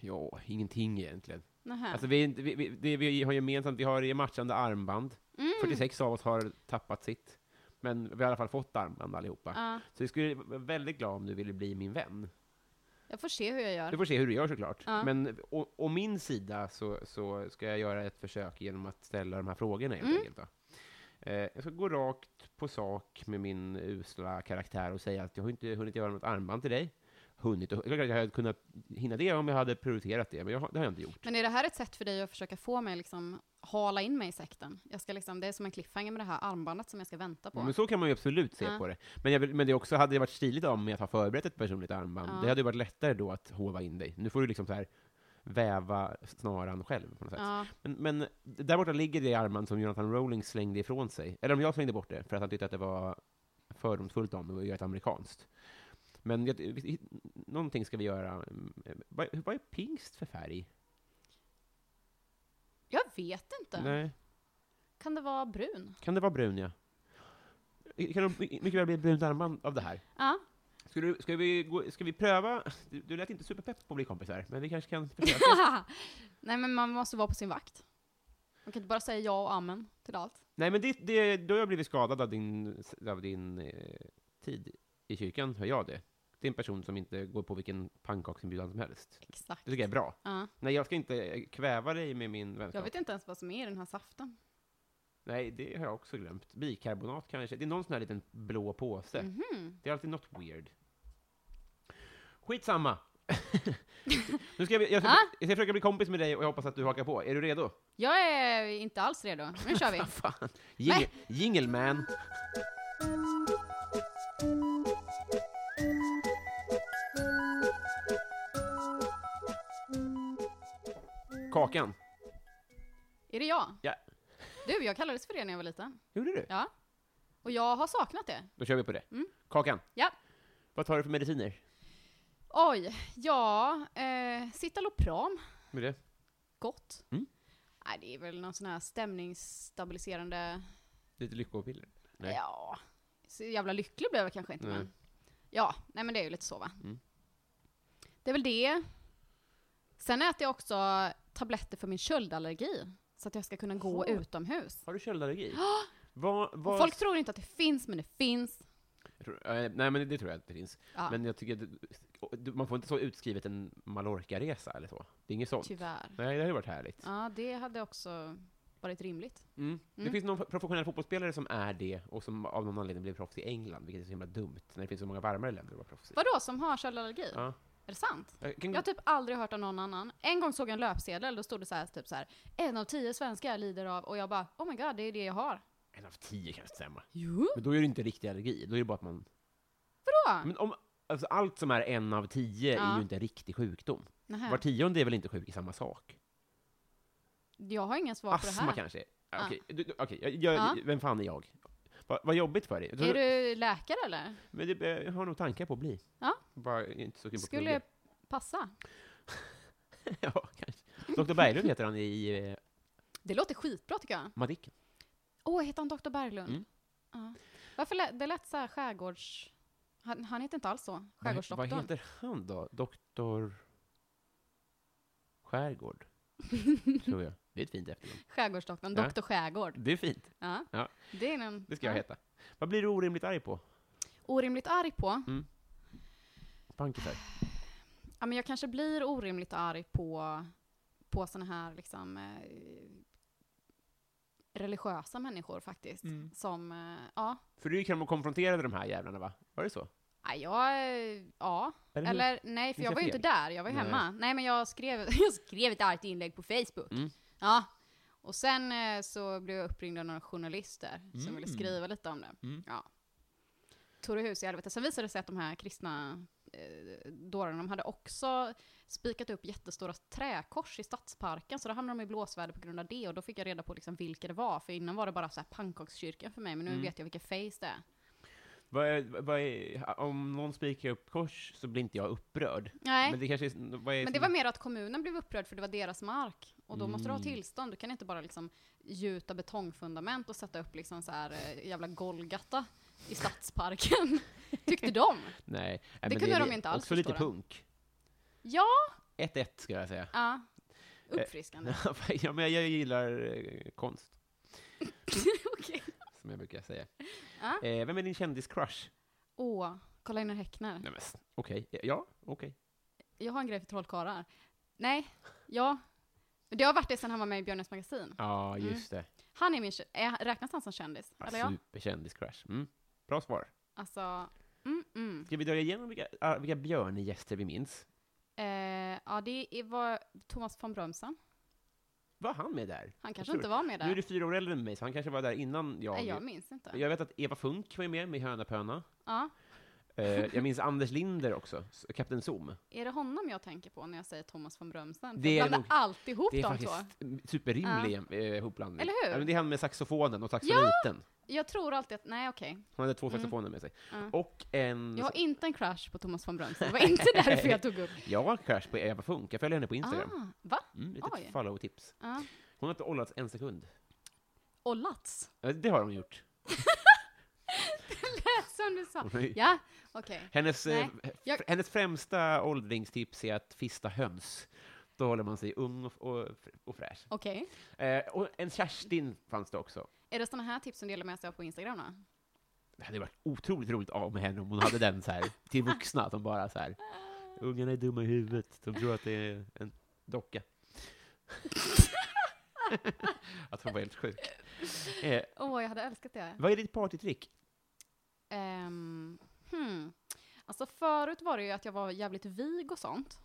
Ja, ingenting egentligen.
Nähä.
Alltså vi, är inte- vi, vi, det vi har gemensamt, vi har matchande armband.
Mm.
46 av oss har tappat sitt. Men vi har i alla fall fått armband allihopa.
Ja,
Så jag skulle vara väldigt glad om du ville bli min vän.
jag får se hur jag
Du
gör.
får se hur du gör såklart.
Ja.
Men å, å min sida så, så ska jag göra ett försök genom att ställa de här frågorna helt
Mm.
enkelt. Då. Eh, jag ska gå rakt på sak med min usla karaktär och säga att jag har inte hunnit göra något armband till dig. Hunnit, och, det är klart att jag hade kunnat hinna det om jag hade prioriterat det, men jag, har- det har jag inte gjort.
Men är det här ett sätt för dig att försöka få mig liksom hala in mig i sekten? Jag ska liksom, det är som en cliffhanger med det här armbandet som jag ska vänta på.
Ja, Men så kan man ju absolut se
Ja.
på det. Men, jag vill, men det också hade det varit stiligt av mig att ha förberett ett personligt armband.
Ja.
Det hade ju varit lättare då att hova in dig. Nu får du liksom så här väva snaran själv på något sätt.
Ja.
Men, men där borta ligger det armband som Jonathan Rowling slängde ifrån sig. Eller om jag slängde bort det, för att han tyckte att det var fördomsfullt av mig att göra ett amerikanskt. Men jag, vi- någonting ska vi göra. Mm, Vad, vad är pingst för färg?
Jag vet inte.
Nej.
Kan det vara brun?
Kan det vara brun, ja? Kan det mycket väl bli ett brunt armband av det här?
Ja.
Ska, du, ska, vi, gå, ska vi pröva? Du, du lät inte superpepp på att bli kompisar, men vi kanske kan försöka.
Nej men man måste vara på sin vakt. Man kan inte bara säga ja och amen till allt.
Nej, men det, det, då har jag blivit skadad av din, av din eh, tid i kyrkan, hör jag det. Det är en person som inte går på vilken pannkaksinbjudan som helst.
Exakt.
Det tycker jag är bra.
Ja.
Nej, jag ska inte eh, kväva dig med min
Jag
vänskap.
vet inte ens vad som är i den här saften.
Nej, det har jag också glömt. Bikarbonat kanske. Det är någon sån här liten blå påse.
Mhm.
Det är alltid något weird. Skitsamma! nu ska jag, jag, ska,
Ah?
jag ska försöka bli kompis med dig och jag hoppas att du hakar på. Är du redo?
Jag är inte alls redo. Nu kör vi.
Fan. Jingle,
Nej.
jingle man. Kakan.
Är det jag?
Ja.
Du, jag kallades för det när jag var liten.
Gjorde du?
Ja. Mm. Och jag har saknat det.
Då kör vi på det. Kakan.
Ja.
Vad tar du för mediciner?
Oj, ja, eh, Citalopram,
Med det?
gott.
Mm.
Nej, det är väl någon sån här stämningsstabiliserande,
Lite lyckopiller. Nej.
ja, så jävla lycklig blev jag kanske inte
Nej.
men. Ja, nej men det är ju lite så va.
Mm.
Det är väl det. Sen äter jag också tabletter för min köldallergi, så att jag ska kunna gå
Jaha.
utomhus.
Har du köldallergi? Vad,
Och
vad...
folk tror inte att det finns, men det finns.
Jag tror- eh, Nej, men det tror jag att det finns.
Ja,
Men jag tycker att och du- man får inte så utskrivet en Mallorca-resa eller så. Det är inget sånt.
tyvärr.
Nej, det hade ju varit härligt.
Ja, det hade också varit rimligt.
Mm. Det
Mm.
finns någon professionell fotbollsspelare som är det och som av någon anledning blev proffs i England, vilket är så himla dumt när det finns så många varmare länder att vara proffs i.
Vadå, som har köldallergi?
Ja.
Är det sant?
Jag kan-
Jag har typ aldrig hört av någon annan. En gång såg jag en löpsedel, då stod det så här, typ så här, en av tio svenskar lider av, och jag bara, oh my god, det är det jag har.
En av tio kanske stämmer.
Jo.
Men då är det inte riktig allergi, då är det bara att man...
Vadå?
Men om, alltså allt som är en av tio är
Ja.
ju inte en riktig sjukdom.
Nähä.
Var tionde är väl inte sjuk i samma sak?
Jag har inga svar på det
Astma
här.
kanske?
Ja.
Okej, du- du- okej, jag- jag-
Ja.
vem fan är jag? Vad vad jobbigt för dig. Jag tror-
Är du läkare eller?
Men det, jag har nog tankar på att bli.
Ja.
Bara inte så kul på
Skulle
plugga.
passa.
ja, kanske. Dr. Berglund heter han i eh,
Det låter skitbra tycker jag.
Madicken.
Åh, heter han Dr. Berglund?
Mm.
Ja. Varför lät, det lät så här skärgårds... Han, han heter inte alls så,
Vad, vad
skärgårdsdoktorn.
heter han då? Doktor... Skärgård? Tror jag. Det är ett fint efternamn.
Skärgårdsdoktorn,
Ja.
Dr. Skärgård.
Det är fint.
Ja.
Ja.
Det, är en,
Det ska jag
ja.
heta. Vad blir du orimligt arg på?
Orimligt arg på.
Bankisar?
Ja, men jag kanske blir orimligt arg på, på såna här liksom, eh, religiösa människor faktiskt.
Mm.
Som, eh, ja.
För du gick hem och konfronterade de här jävlarna, va? Var det så?
Nej, jag, eh, ja.
Eller hur?
Eller nej,
Minns
för jag
jag
var ju
fel?
inte där, jag var ju
Nej.
hemma. Nej, men jag skrev, jag skrev ett argt inlägg på Facebook.
Mm.
Ja. Och sen eh, så blev jag uppringd av några journalister som ville
Mm.
skriva lite om det.
Mm.
Ja. Tore hus i helvete. Sen visade det sig att de här kristna eh, dårarna, de hade också spikat upp jättestora träkors i stadsparken, så då hamnade de i blåsväder på grund av det. Och då fick jag reda på liksom vilka det var, för innan var det bara så här pannkakskyrkan för mig, men nu
Mm.
vet jag vilka face det är.
Vad är, vad är, om någon spikar upp kors så blir inte jag upprörd.
Nej.
Men det kanske är... Vad är
Men det var mer att kommunen blev upprörd för det var deras mark. Och då måste du ha
Mm.
tillstånd. Du kan inte bara liksom gjuta betongfundament och sätta upp liksom så här eh, jävla Golgata i stadsparken. Tyckte de.
Nej. Nej, men
kunde
är
de inte alls
Också lite
förstå, då.
punk.
Ja,
1-1 skulle jag säga.
ja. Uppfriskande.
ja, men jag gillar eh, konst,
Okej.
som jag brukar säga.
Ja.
Eh, vem är din kändiscrush?
Åh, kolla in Häckner.
Nej, men s- Okej. Ja, okej.
Jag har en grej för trollkarlar. Nej, ja. Men Det har varit det sen han var med i Björnes magasin.
Ja,
Mm.
just det.
Han är min, kä- är, räknas han som kändis?
Ja,
Eller ja?
Superkändiscrush. Mm. Bra svar.
Alltså, mm, mm.
Ska vi dra igenom vilka, ah, vilka björngäster vi minns?
Eh, ja, det är- var Thomas von Brömsen.
Var han med där?
Han kanske
tror
inte var med där.
Nu är du fyra år äldre än mig, så han kanske var där innan jag...
Nej, jag minns inte.
jag vet att Eva Funk var ju med, med Höna Pöna.
Ja.
Eh, jag minns Anders Linder också, s- Kapten Zoom.
Är det honom jag tänker på när jag säger Thomas von Brömsen? För
Det är
jag blandar
nog-
alltid ihop
Det är
de två.
faktiskt en superrimlig eh, ihopblandning.
Eller hur?
Ja, men det är han med saxofonen och saxofoniten.
Jag tror alltid att, nej okej.
Han hade två saxofoner med sig. Och en...
Mm. Jag har inte en crush på Thomas von Brömsen. Det var inte därför jag tog upp.
Jag har en crush på Eva Funk, jag följer henne på Instagram.
Ah, va?
Mm,
Oj.
litet follow-tips.
Ja.
Hon har inte ollats en sekund.
Och Lats.
Ja, Det har hon gjort.
Som du sa.
Hon har ju-
Ja, okej.
Hennes,
Nej,
eh, f-
jag-
hennes främsta åldringstips är att fista höns. Då håller man sig ung och, och, och fräsch.
Okej.
Eh, och en Kerstin fanns det också.
Är det sådana här tips som delar med sig av på Instagram då?
Det hade varit otroligt roligt av med henne om hon hade den så här, till vuxna, som bara så här, ungarna är dumma i huvudet, de tror att det är en docka. att hon var helt sjuk. Eh,
Åh, jag hade älskat det.
vad är ditt partytrick?
Ehm, hmm. Alltså förut var det ju att jag var jävligt vig och sånt.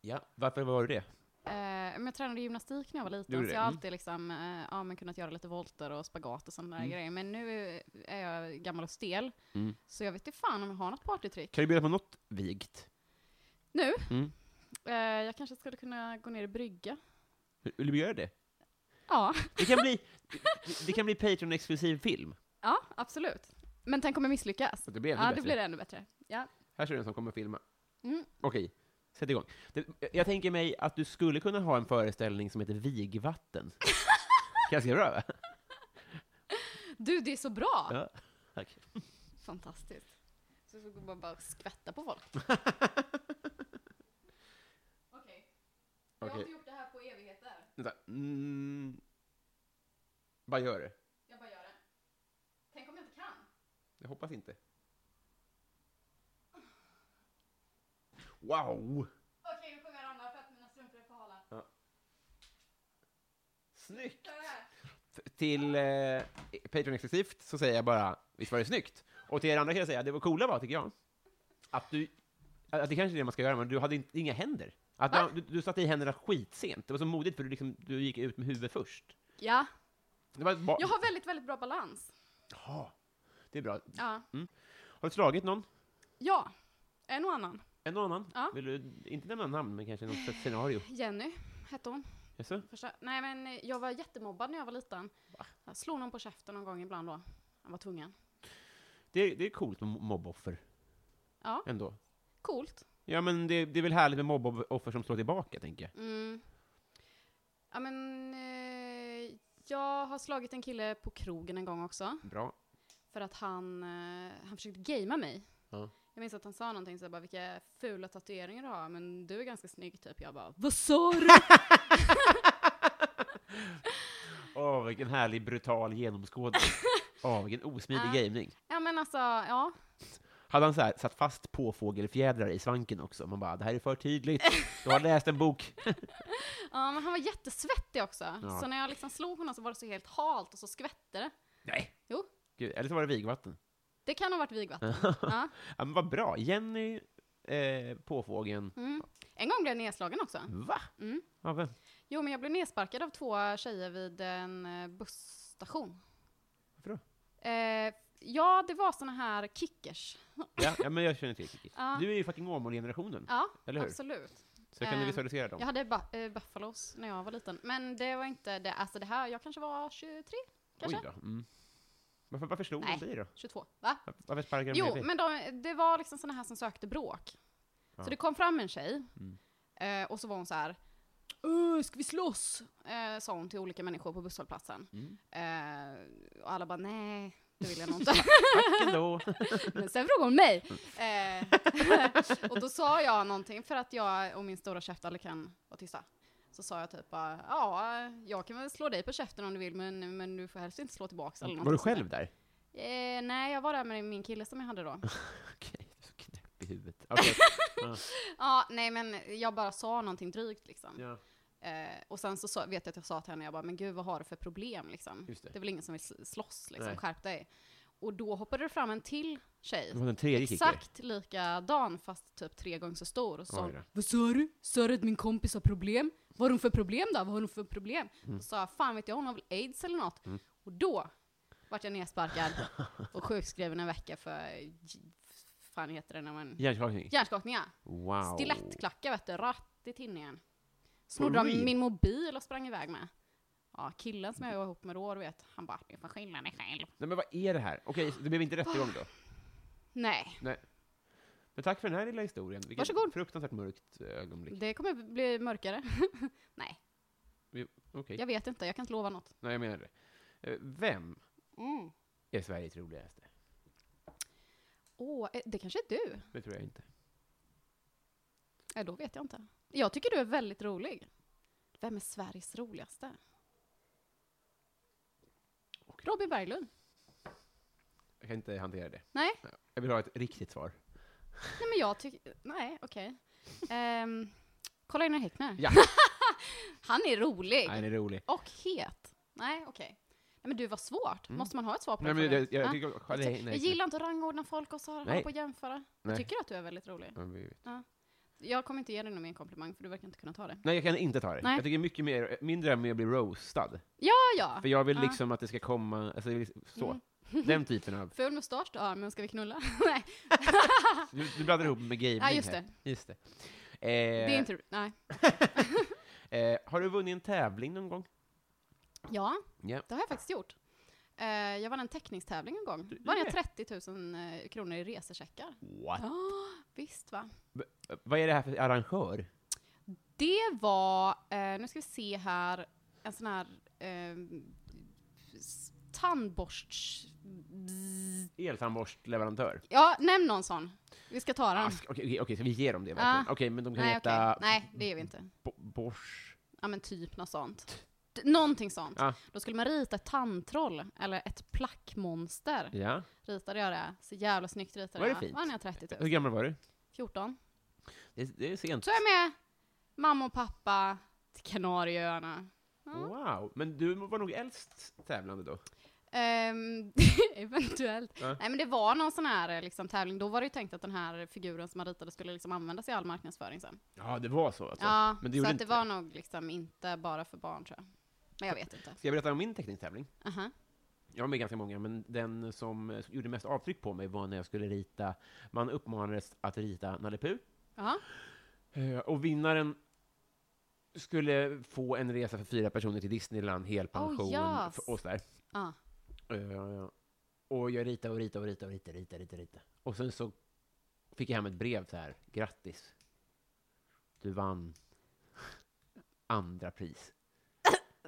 Ja, varför var du det?
Eh, men jag tränade gymnastik när jag var liten,
Gjorde
så
det?
jag har
Mm.
alltid liksom, eh, ja, men kunnat göra lite volter och spagat och sådana där grejer. Men nu är jag gammal och stel,
Mm.
så jag vet inte fan om jag har något partytrick.
Kan du bjuda på något vigt?
Nu?
Mm.
Eh, jag kanske skulle kunna gå ner i brygga.
Vill du göra det?
Ja,
Det kan bli, det kan bli Patreon-exklusiv film.
ja absolut. Men tänk om jag misslyckas?
Det blir ännu
Ja, då
bättre.
blir det ännu bättre. Ja.
Här ser du en som kommer att filma.
Mm.
Okej, sätt igång. Det, jag tänker mig att du skulle kunna ha en föreställning som heter Vigvatten. Ganska bra, va?
Du, det är så bra!
Ja. Tack.
Fantastiskt. Så får man bara skvätta på
Mm,
folk. Okej. Jag har
Okej.
inte gjort det här på evigheter.
Vänta. Mm. Vad gör det?
Jag bara gör det. Tänk om jag inte kan?
Jag hoppas inte. Wow!
Okej, nu sjunger jag andra för att mina strumpor är för hala.
Snyggt!
Så här.
Till eh, Patreon exklusivt så säger jag bara, visst var det snyggt? Och till er andra kan jag säga, det var coola var, tycker jag, att du, att det kanske är det man ska göra, men du hade inte, inga händer. Att man, du, du satte i händerna skitsent. Det var så modigt, för du, liksom, du gick ut med huvudet först.
Ja.
Det var bara,
Jag har väldigt, väldigt bra balans.
Jaha. det är bra.
Ja.
Har du slagit någon?
Ja. En och annan.
En och annan?
Ja.
Vill du inte nämna namn, men kanske något slags scenario?
Jenny hette hon.
Jaså?
Första. Nej, men eh, jag var jättemobbad när jag var liten. Jag slog någon på käften någon gång ibland då. Han var tvungen.
Det, det är coolt med mobboffer,
Ja,
ändå.
coolt.
Ja, men det, det är väl härligt med mobboffer som slår tillbaka, tänker jag.
Mm. Ja, men eh, jag har slagit en kille på krogen en gång också.
Bra.
För att han, eh, han försökte gamea mig.
Ja.
Jag minns att han sa någonting så jag bara, vilka fula tatueringar du har, men du är ganska snygg typ. Jag bara, vad sa du?
Åh, vilken härlig brutal genomskådning. Åh, vilken osmidig
Ja.
gaming.
ja men alltså, ja.
Hade han så här, satt fast påfågelfjädrar i svanken också? Man bara, det här är för tydligt. Du har läst en bok.
ja men han var jättesvettig också.
Ja.
Så när jag liksom slog honom så var det så helt halt och så skvätte det.
Nej.
Jo.
Gud, eller så var det vigvatten.
Det kan ha varit vigvatten. ja.
Ja, men vad bra. Jenny, eh, påfågeln.
mm. En gång blev jag nedslagen också.
Va?
Mm.
Ja, vem?
Jo men jag blev nedsparkad av två tjejer vid en eh, busstation.
Varför då?
Eh, ja, det var såna här kickers.
Ja, ja, men jag känner till Kiki.
Ja.
Du är ju fucking Åmål-generationen,
Ja, alltså,
eller hur?
absolut.
Så jag kan
Ehm,
visualisera dem.
Jag hade ba- eh, buffalos när jag var liten. Men det var inte det, alltså det här, jag kanske var 23, kanske?
Oj då. Mm. Varför, varför slog
Nej.
de dig då?
22, va?
Varför- Varför sparkade de
Jo,
ner dig?
men de, det var liksom såna här som sökte bråk.
Ja. Mm.
Så det kom fram en tjej, eh, och så var hon så här. "Öh, ska vi slåss? Eh, sa hon till olika människor på busshållplatsen.
Mm.
Eh, och alla bara nej, det vill jag nog inte.
Tack ändå.
Men sen frågade hon mig. Eh, och då sa jag någonting, för att jag och min stora käft aldrig kan vara tysta. Så sa jag typ bara, ja, jag kan väl slå dig på käften om du vill, men, men du får helst inte slå tillbaka. Eller
Var
någonting
du
sånt där."
själv där?
Eh, nej, jag var där med min kille som jag hade då.
Okej, du är så knäpp i huvudet. Okej.
ja, nej men jag bara sa någonting drygt liksom.
Ja.
Eh, och sen så sa, vet jag att jag sa till henne, jag bara, men gud vad har du för problem liksom?
Just det.
är väl ingen som vill sl- slåss liksom,
Nej.
skärp dig. Och då hoppade det fram en till tjej
Det var den tredje kicken.
Exakt likadan fast typ tre gånger så stor. Och så sa
Oj
hon,
då.
Vad sa du? Sa du att min kompis har problem? Vad har hon för problem då? Vad har hon för problem?
Mm.
Och sa jag, fan vet jag, hon har väl aids eller något? Och då vart jag nedsparkad och sjukskriven en vecka för j- fan heter det när man...
Hjärnskakning?
Hjärnskakning ja.
Wow.
Stilettklackar vet du, rattigt in igen. Snodde de
real?
min mobil och sprang iväg med. Ja, killen som jag var ihop med då, du vet, han bara, du får skylla dig själv.
Nej, men vad är det här? Okej, det blev inte rättegång
Ah.
då.
Nej,
Men tack för den här lilla historien. Vilket
Varsågod.
fruktansvärt mörkt eh, ögonblick.
det kommer bli mörkare. Nej,
Okej.
jag vet inte, jag kan inte lova något.
Nej, jag menar det. Eh, Vem
Mm.
är Sveriges roligaste?
Åh, eh, det kanske är du?
Det tror jag inte.
Nej, då vet jag inte. Jag tycker du är väldigt rolig. Vem är Sveriges roligaste? Robin Berglund.
Jag kan inte hantera det.
Nej.
Jag vill ha ett riktigt svar.
Nej, men jag tycker... Nej, okej. Ehm, kolla in Häckner.
Ja.
Han är rolig.
Nej, den är rolig.
Och het. Nej, okej. Nej, men du, vad svårt.
Mm.
Måste man ha ett svar på
Nej,
den
men
frågan?
jag, jag
Ja.
tycker... nej,
Jag ty-
nej,
jag gillar inte att rangordna folk och så här, hålla
Nej.
på och jämföra.
Nej.
Jag tycker att du är väldigt rolig.
Ja, vi vet.
Jag kommer inte ge dig någon mer komplimang, för du verkar inte kunna ta det.
Nej, jag kan inte ta det.
Nej.
Jag tycker mycket mer, min dröm är att bli roastad.
Ja, ja! Mm.
För jag vill
Ah.
liksom att det ska komma, alltså jag vill liksom- så. Den typen av,
Ful mustasch, ja, men ska vi knulla? Nej,
du, du blandar ihop med gaming
ja, just
här.
det.
Just det. Eh,
Det är inte... Nej.
eh, har du vunnit en tävling någon gång?
Ja,
Ja.
det har jag faktiskt gjort. Eh, jag vann en teckningstävling en gång. Vann jag 30 000 eh, kronor i resecheckar.
What?
Ja, visst va.
Eh, Vad är det här för arrangör?
Det var, eh, nu ska vi se här, en sån här eh, s- tandborst...
Eltandborstleverantör?
Ja, nämn någon sån. Vi ska ta den.
Ah, sk- Okej, okej, okej, så vi ger dem det verkligen? Okej, men de kan
Nej, okej.
heta
Nej, det gör vi inte.
Bo- Bors...
Ja men typ något sånt. D- Någonting sånt.
Ja.
Då skulle man rita ett tandtroll, eller ett plackmonster.
Ja.
Ritade jag det, så jävla snyggt ritade
Var det
jag.
fint?
Vann jag 30
Hur
000.
gammal var du?
14.
Det är, det är sent.
Så är jag med mamma och pappa till Kanarieöarna. Ja.
Wow, men du var nog äldst tävlande då?
Ehm, eventuellt.
Ja.
Nej men det var någon sån här eh, liksom, tävling, då var det ju tänkt att den här figuren som man ritade skulle liksom användas i all marknadsföring sen.
Ja, det var så alltså?
ja,
men det
så
gjorde
att det
inte
var nog liksom inte bara för barn tror jag. Men jag vet inte.
Ska jag berätta om min teckningstävling?
Aha.
Jag var med ganska många, men den som eh, gjorde mest avtryck på mig var när jag skulle rita, man uppmanades att rita Nalle Puh,
Jaha.
eh, och vinnaren skulle få en resa för fyra personer till Disneyland, helpension
Oh,
oh,
yes.
och sådär.
Ja.
Eh, Och jag ritade och ritade och ritade och ritade, ritade, ritade, ritade. Och sen så fick jag hem ett brev så här, grattis, du vann andra pris.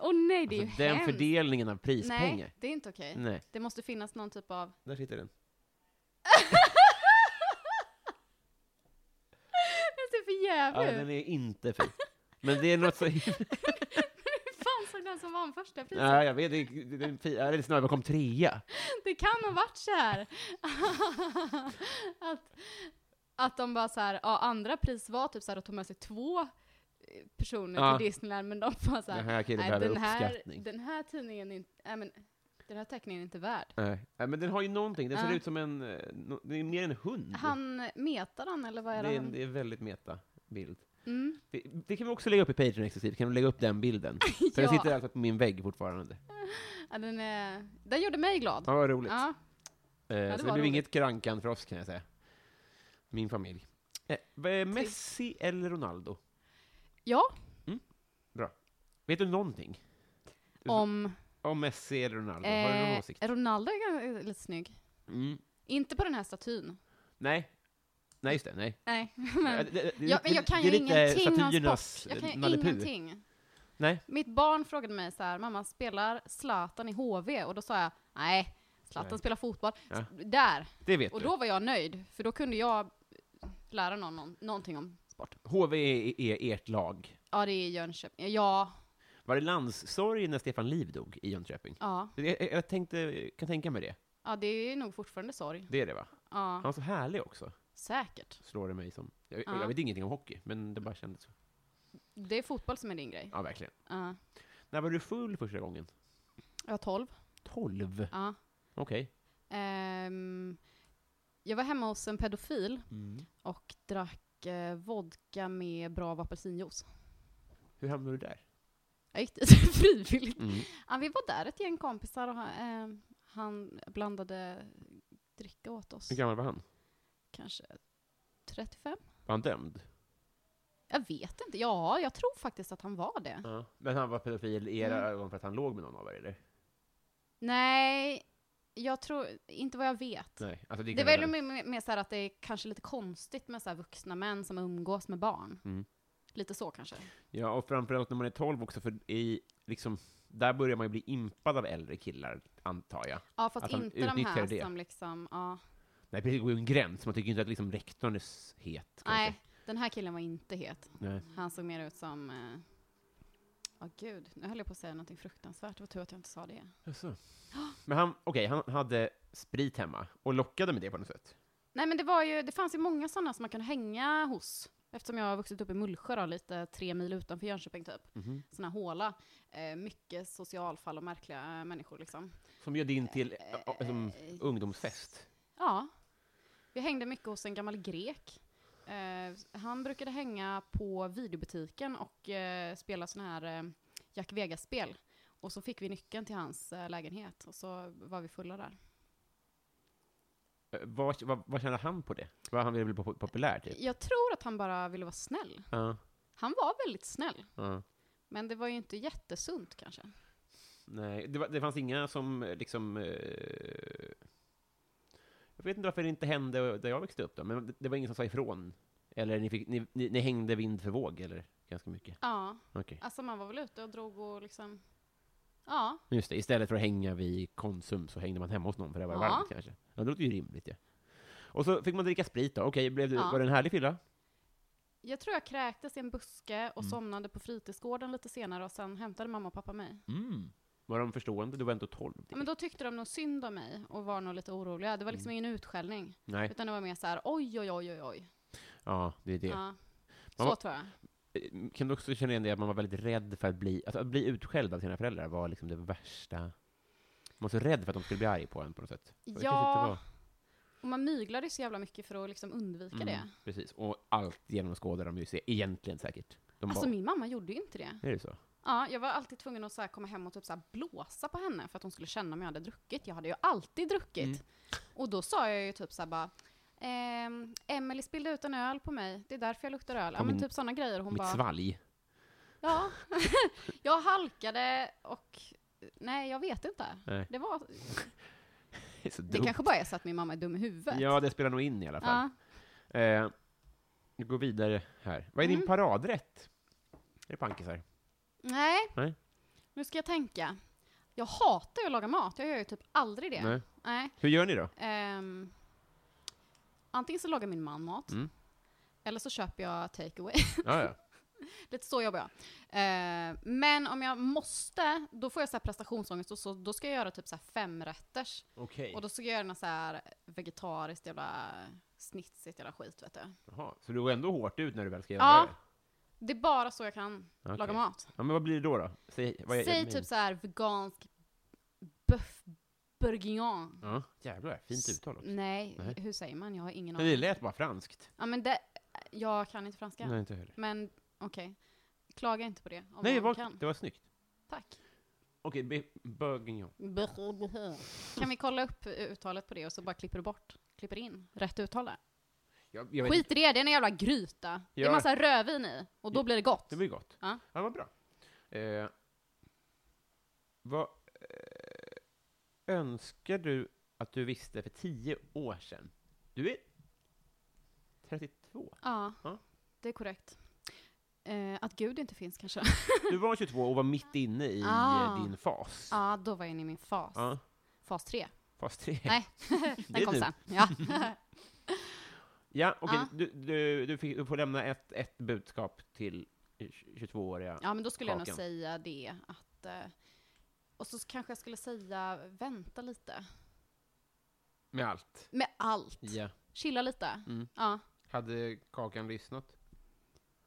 Åh nej, det är
Alltså,
ju
den
hemskt.
fördelningen av prispengar.
Nej, det är inte okej.
Nej.
Det måste finnas någon typ av...
Där sitter den.
Den ser för
Ja,
jävlig
den
ut.
är inte fin. Men det är något så
Hur fan såg den som vann första priset?
Ja, jag vet, det, det, det, är fi- ja, eller snarare, vad kom trea?
Det kan ha varit så här. att, att de bara så här, ja, andra pris var typ så här att ta med sig två eh, personer
Ja.
till Disneyland, men de bara så här,
Den här killen
"Nej,
behöver
den här,
uppskattning."
den här tidningen är inte, nej, men, den här teckningen är inte värd.
Nej. Ja, men den har ju någonting, den ser
Ja.
ut som en, eh, no, det är mer en hund.
Han, metar han eller vad
Mm. det, är
är det
en,
han?
det är en väldigt meta bild.
Mm.
Vi- Det kan vi också lägga upp i Patreon exklusivt, kan du lägga upp den bilden? För den
Ja.
sitter alltså på min vägg fortfarande.
Ja, den, är, den gjorde mig glad.
Ja, vad roligt.
Ja.
Eh, så
det
det
var
blev
roligt.
inget krankan för oss kan jag säga. Min familj. Eh, vad är Messi eller Ronaldo?
ja,
Vet du någonting
om
om Messi eller Ronaldo? Har du någon
eh,
åsikt?
Ronaldo är ganska- lite snygg.
Mm.
Inte på den här statyn.
Nej. Nej, just det. Nej.
Nej,
Eh,
men,
det- det- det-
ja, men
det-
jag
det
kan ju
är lite
ingenting om
statyernas,
sport. Jag kan
eh,
ju
Nalle Puh.
ingenting.
Nej.
Mitt barn frågade mig så här, mamma spelar Zlatan i HV? Och då sa jag, nej, Zlatan
Nej.
spelar fotboll.
Ja.
S- Där.
Det vet
Och
du.
då var jag nöjd, för då kunde jag lära någon, någon någonting om sport.
HV är, är E ert lag.
Ja, det är Jönköping. Ja,
Var det landssorg när Stefan Liv dog i Jönköping?
ja.
Jag, jag- jag tänkte, kan tänka mig det.
Ja, det är nog fortfarande sorg.
Det är det, va?
Ja,
Han var så härlig också,
säkert.
slår det mig som. Jag,
Ja.
jag vet ingenting om hockey, men det bara kändes så.
Det är fotboll som är din grej.
Ja, verkligen.
Ja.
När var du full första gången?
Jag var 12.
12?
Ja.
Okej.
Ehm, jag var hemma hos en pedofil
Mm.
och drack eh, vodka med bra apelsinjuice.
Hur hamnade du där?
Jag gick dit frivilligt.
Mm.
Ja, vi var där ett gäng kompisar och han, ehm, han blandade dricka åt oss.
Hur gammal var han?
Kanske 35?
Var han dömd?
Jag vet inte. Ja, jag tror faktiskt att han var det.
Ja. Men han var pedofil i era
Mm.
ögon för att han låg med någon av er, eller?
Nej, jag tror inte vad jag vet.
Nej. Alltså, det
Det
kan
var
jag
ju
redan-
mer, mer- mer så här att det är kanske lite konstigt med så här vuxna män som umgås med barn.
Mm.
Lite så kanske.
Ja, och framförallt när man är 12 också, för i, liksom, där börjar man ju bli impad av äldre killar, antar jag.
Ja, fast
Att han
inte de
utnyttjar
här
det.
som liksom, ja.
Nej, precis, det går ju en gräns. Man tycker ju inte att liksom, rektorn är s- het. kanske.
Nej, den här killen var inte het.
Nej.
Han såg mer ut som, ja eh... ja, gud, nu höll jag på att säga någonting fruktansvärt. Det var tur att jag inte sa det.
Jaså. Men han, okej, han hade sprit hemma och lockade med det på något sätt.
Nej men det var ju, det fanns ju många sådana som man kunde hänga hos. Eftersom jag har vuxit upp i Mullsjö då, lite tre mil utanför Jönköping typ. Sån här håla. Eh, mycket socialfall och märkliga eh, människor liksom.
Som bjöd in till ä, ä, som
Eh,
ungdomsfest.
Ja. Vi hängde mycket hos en gammal grek. Eh, han brukade hänga på videobutiken och eh, spela sån här eh, Jack Vegas-spel. Och så fick vi nyckeln till hans eh, lägenhet och så var vi fulla där.
Ä, Vad, vad, vad kände han på det? Vad han ville bli pop- populär, typ?
Jag tror att han bara ville vara snäll.
Ja,
Han var väldigt snäll.
ja.
Men det var ju inte jättesunt kanske.
Nej, det, var, det fanns inga som eh, liksom... eh, jag vet inte varför det inte hände där jag växte upp då, men det, det var ingen som sa ifrån. Eller ni, fick, ni, ni, ni hängde vind för våg, eller? Ganska mycket.
Ja,
Okej.
alltså man var väl ute och drog och liksom... Ja,
Just det, istället för att hänga vid Konsum så hängde man hemma hos någon för det var
Ja.
varmt kanske. Ja, det låter ju rimligt ja. Och så fick man dricka sprit då. Okej, blev det,
Ja.
var det en härlig fylla?
jag tror jag kräktes i en buske och
Mm.
somnade på fritidsgården lite senare och sen hämtade mamma och pappa mig.
Var de förstående? Du var ändå 12.
Ja, men då tyckte de nog synd om mig och var nog lite oroliga. Det var liksom ingen utskällning,
Mm. Nej,
utan det var mer så här oj, oj, oj, oj, oj.
ja, det är det.
Ja. Så
Mamma-
tror jag.
Eh, Kan du också känna igen det att man var väldigt rädd för att bli, alltså, att bli utskälld av sina föräldrar var liksom det värsta. Man var så rädd för att de skulle bli arga på en på något sätt. Och det kanske inte
Ja,
var-
och man myglade ju så jävla mycket för att liksom undvika
Mm.
det.
Precis, och allt genomskådade de ju se, egentligen säkert. De
Alltså
bara,
min mamma gjorde ju inte det.
är det så?
Ja, jag var alltid tvungen att så här komma hem och typ så här blåsa på henne för att hon skulle känna om jag hade druckit. Jag hade ju alltid druckit.
Mm.
Och då sa jag ju typ så här bara, ehm, Emelie spillde ut en öl på mig, det är därför jag luktar öl. Ja
På
men
min-
typ sådana grejer. Hon
Mitt
bara,
svalg.
ja. jag halkade och, nej jag vet inte.
Nej.
Det, var,
Det, är så
det
dumt.
kanske bara är så att min mamma är dum i huvudet.
Ja, det spelar nog in i alla fall.
Ja.
Eh, vi går vidare här. Vad är din
Mm.
paradrätt? Är det pankisar?
Nej.
Nej.
nu ska jag tänka. Jag hatar ju att laga mat, jag gör ju typ aldrig det.
Nej.
nej.
Hur gör ni då?
Ehm, antingen så lagar min man mat,
Mm.
eller så köper jag takeaway.
Ja, ja.
Lite så jobbar jag. Ehm, men om jag måste, då får jag så här prestationsångest och så, då ska jag göra typ så här femrätters.
Okej.
Och då ska jag göra något så här vegetariskt jävla snitsigt jävla skit vet du.
Jaha, Så du går ändå hårt ut när du väl ska göra
Ja,
det?
Det är bara så jag kan
Okej.
laga mat.
Ja, men vad blir det då? då? Säg, vad är,
Säg
men-
typ så här vegansk bœuf bourguignon.
Ja, jävlar, fint uttal också.
Nej,
Nej.
hur säger man? Jag har ingen
Men det
aning.
lät bara franskt.
Ja men det, jag kan inte franska.
Nej, inte heller.
Men okej. Klaga inte på det om
Nej, det
man
var,
kan.
det var snyggt.
Tack.
Okej, okay, Bourguignon.
Kan vi kolla upp eh, uttalet på det och så bara klipper du bort, klipper in rätt uttal där?
Jag, jag vet
Skit
inte,
i det, det är en jävla gryta. Det
Ja.
är massa rödvin i, och då
Ja.
blir det gott.
det var ju gott.
Ja.
Ja, vad bra. Eh, vad eh, önskar du att du visste för tio år sedan? Du är 32.
Ja,
Ja.
det är korrekt. Eh, att Gud inte finns kanske.
Du var 22 och var mitt inne i eh,
Ah.
din fas.
Ja, då var jag inne i min fas.
Ja,
Fas 3.
fas 3.
Nej,
Det är typ-
den kom
nu.
sen. Ja.
Ja, okej,
Ja.
du, du, du, fick, du får lämna ett, ett budskap till 22-åriga.
ja, men då skulle jag nog
Kakan.
säga det att... eh, Och så kanske jag skulle säga vänta lite.
Med allt.
Med allt.
Ja.
Chilla lite.
Mm.
Ja,
Hade Kakan lyssnat?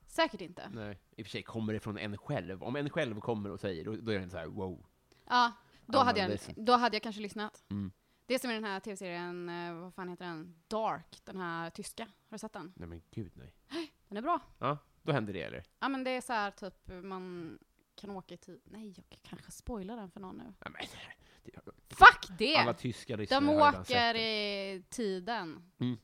säkert inte.
Nej. I och för sig kommer det från en själv. Om en själv kommer och säger, då, då är den så här wow.
Ja, då
Ja,
hade,
men
jag,
det är
då hade jag kanske lyssnat.
Mm.
Det är som i den här tv-serien, eh, vad fan heter den? Dark, den här tyska. Har du sett den?
Nej men gud nej.
Den är bra.
Ja, då händer det eller?
Ja men det är så här typ, man kan åka i tid. Nej, jag kanske spoilar den för någon nu.
Nej, men, det,
Fuck det!
alla tyska lyssnare
De
har redan sett
åker
det.
i tiden.
Mm.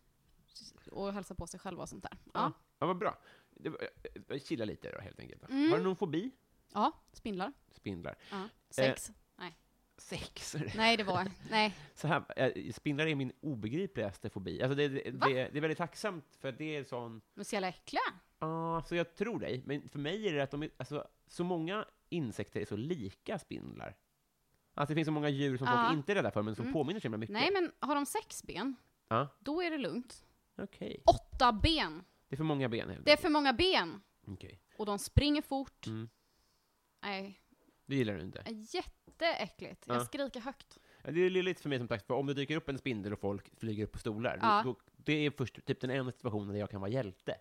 Och hälsar på sig själva och sånt där. Ja.
Ja. ja, vad bra. Det, var- eh, chilla lite då helt enkelt.
Mm.
Har du någon fobi?
Ja, spindlar.
Spindlar.
Ja. Sex.
Sex?
Nej, det var... Nej.
Så här, eh, spindlar är min obegripligaste fobi. Alltså det, det,
Va?
det, det är väldigt tacksamt, för att det är sån...
De är så jävla äckliga.
Ja, så jag tror dig. Men för mig är det att de är, alltså, så många insekter är så lika spindlar. Alltså det finns så många djur som
Ja.
folk inte är rädda för, men som
Mm.
påminner så himla mycket.
Nej, men har de sex ben,
Ja.
då är det lugnt.
Okej.
Åtta ben!
Det är för många ben helt
Det är för många ben!
enkelt. Okej.
Och de springer fort.
Mm.
Nej,
Det gillar du inte?
jätteäckligt.
Ja.
Jag skriker högt.
Ja, Det är lite för mig som sagt, för om det dyker upp en spindel och folk flyger upp på stolar,
Ja.
då, det är först typ den enda situationen där jag kan vara hjälte.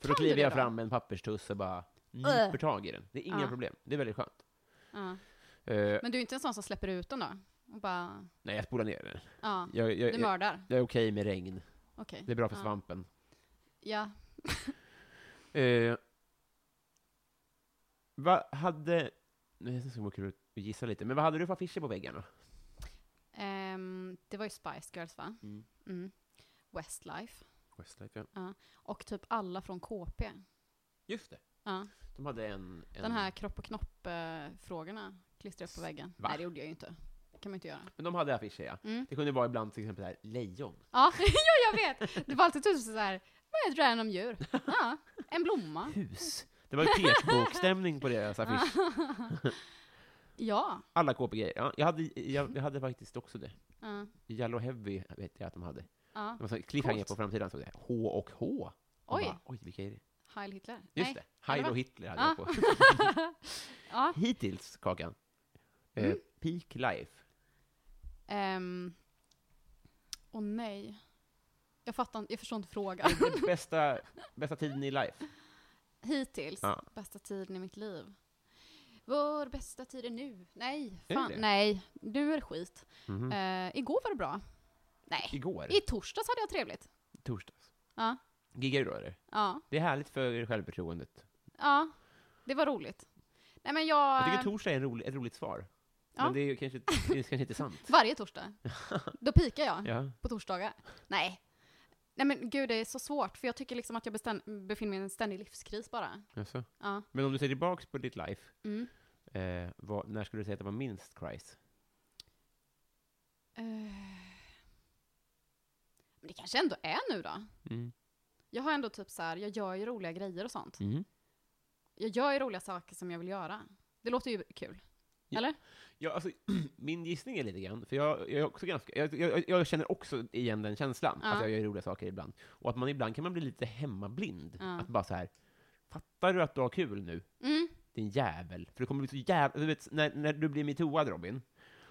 För då
Kan du
kliver
det
jag
då? Äh.
fram med en papperstuss och bara nyper tag i den. Det är inga
Ja.
problem. Det är väldigt skönt.
Ja.
Eh,
Men du är inte en sån som släpper ut den då? Och bara...
nej, jag spolar ner den.
Ja.
Jag, jag,
Du
jag, jag,
mördar?
är okej med regn.
Okej.
Eh, Det är bra för
Ja.
svampen.
Ja.
Eh, vad hade... Nej, det skulle vara kul att gissa lite. Men vad hade du för affischer på väggarna?
Ehm, det var ju Spice Girls va? Mm. Westlife.
Westlife, ja.
Och typ alla från KP.
Just det.
Ja.
De hade en... en
Den här kropp och knopp-frågorna klistrade upp på väggen.
Va?
Nej, det gjorde jag ju inte. Det kan man inte göra.
Men de hade affischer, ja.
Mm.
Det kunde vara ibland till exempel så här, lejon.
Ja, ja, jag vet! Det var alltid typ så här. vad är ett random djur? Ja, en blomma.
Hus. Det var ju petbokstämning på deras affisch.
Ja.
Alla KPG. Ja, jag, hade, jag, jag hade faktiskt också det.
Ja.
Yellow Heavy vet jag att de hade. Det
ja.
var så här cliffhanger
Coolt.
på framsidan. Så det här, H och H. Man
Oj.
Bara, Oj, vilka är det?
Heil Hitler.
Just det. Heil
eller
och
va?
Hitler hade
Ja.
jag på.
Ja. Mm.
Hittills, Kakan. Eh, peak Life.
Ehm. Åh nej. Jag fattar inte- jag förstår inte frågan.
Den bästa, bästa tiden i life.
Hittills,
Ja.
bästa tiden i mitt liv. Vår bästa tid är nu. Nej,
det
fan.
det?
Nej, nu är det skit.
Mhm.
Eh, igår var det bra. Nej,
Igår,
i torsdags hade jag trevligt.
torsdags.
Ja,
Giggar du då, eller?
ja,
Det är härligt för självförtroendet.
ja. Det var roligt. Nej men jag...
Jag tycker torsdag är en rolig, ett roligt svar.
Eh. Ja.
Men det är ju kanske, det är kanske inte sant.
varje torsdag. Då pikar jag.
Ja.
På torsdagar. Nej. Nej men gud, det är så svårt. För jag tycker liksom att jag bestäm- befinner mig i en ständig livskris bara.
Jaså?
Ja.
Men om du ser tillbaks på ditt life,
Mm.
eh, vad, när skulle du säga att det var minst kris?
Eh. Men det kanske ändå är nu då.
Mm.
Jag har ändå typ så här, jag gör ju roliga grejer och sånt. Jag gör ju roliga saker som jag vill göra. Det låter ju kul.
Ja.
Eller?
Ja, alltså, min gissning är lite grann, för jag, jag, är också ganska, jag, jag, jag känner också igen den känslan,
Ja.
att jag gör roliga saker ibland. Och att man ibland kan man bli lite hemmablind.
Ja.
Att bara så här, fattar du att du har kul nu,
Mm.
din jävel? För det kommer bli så jävla, du vet, när, när du blir metooad Robin,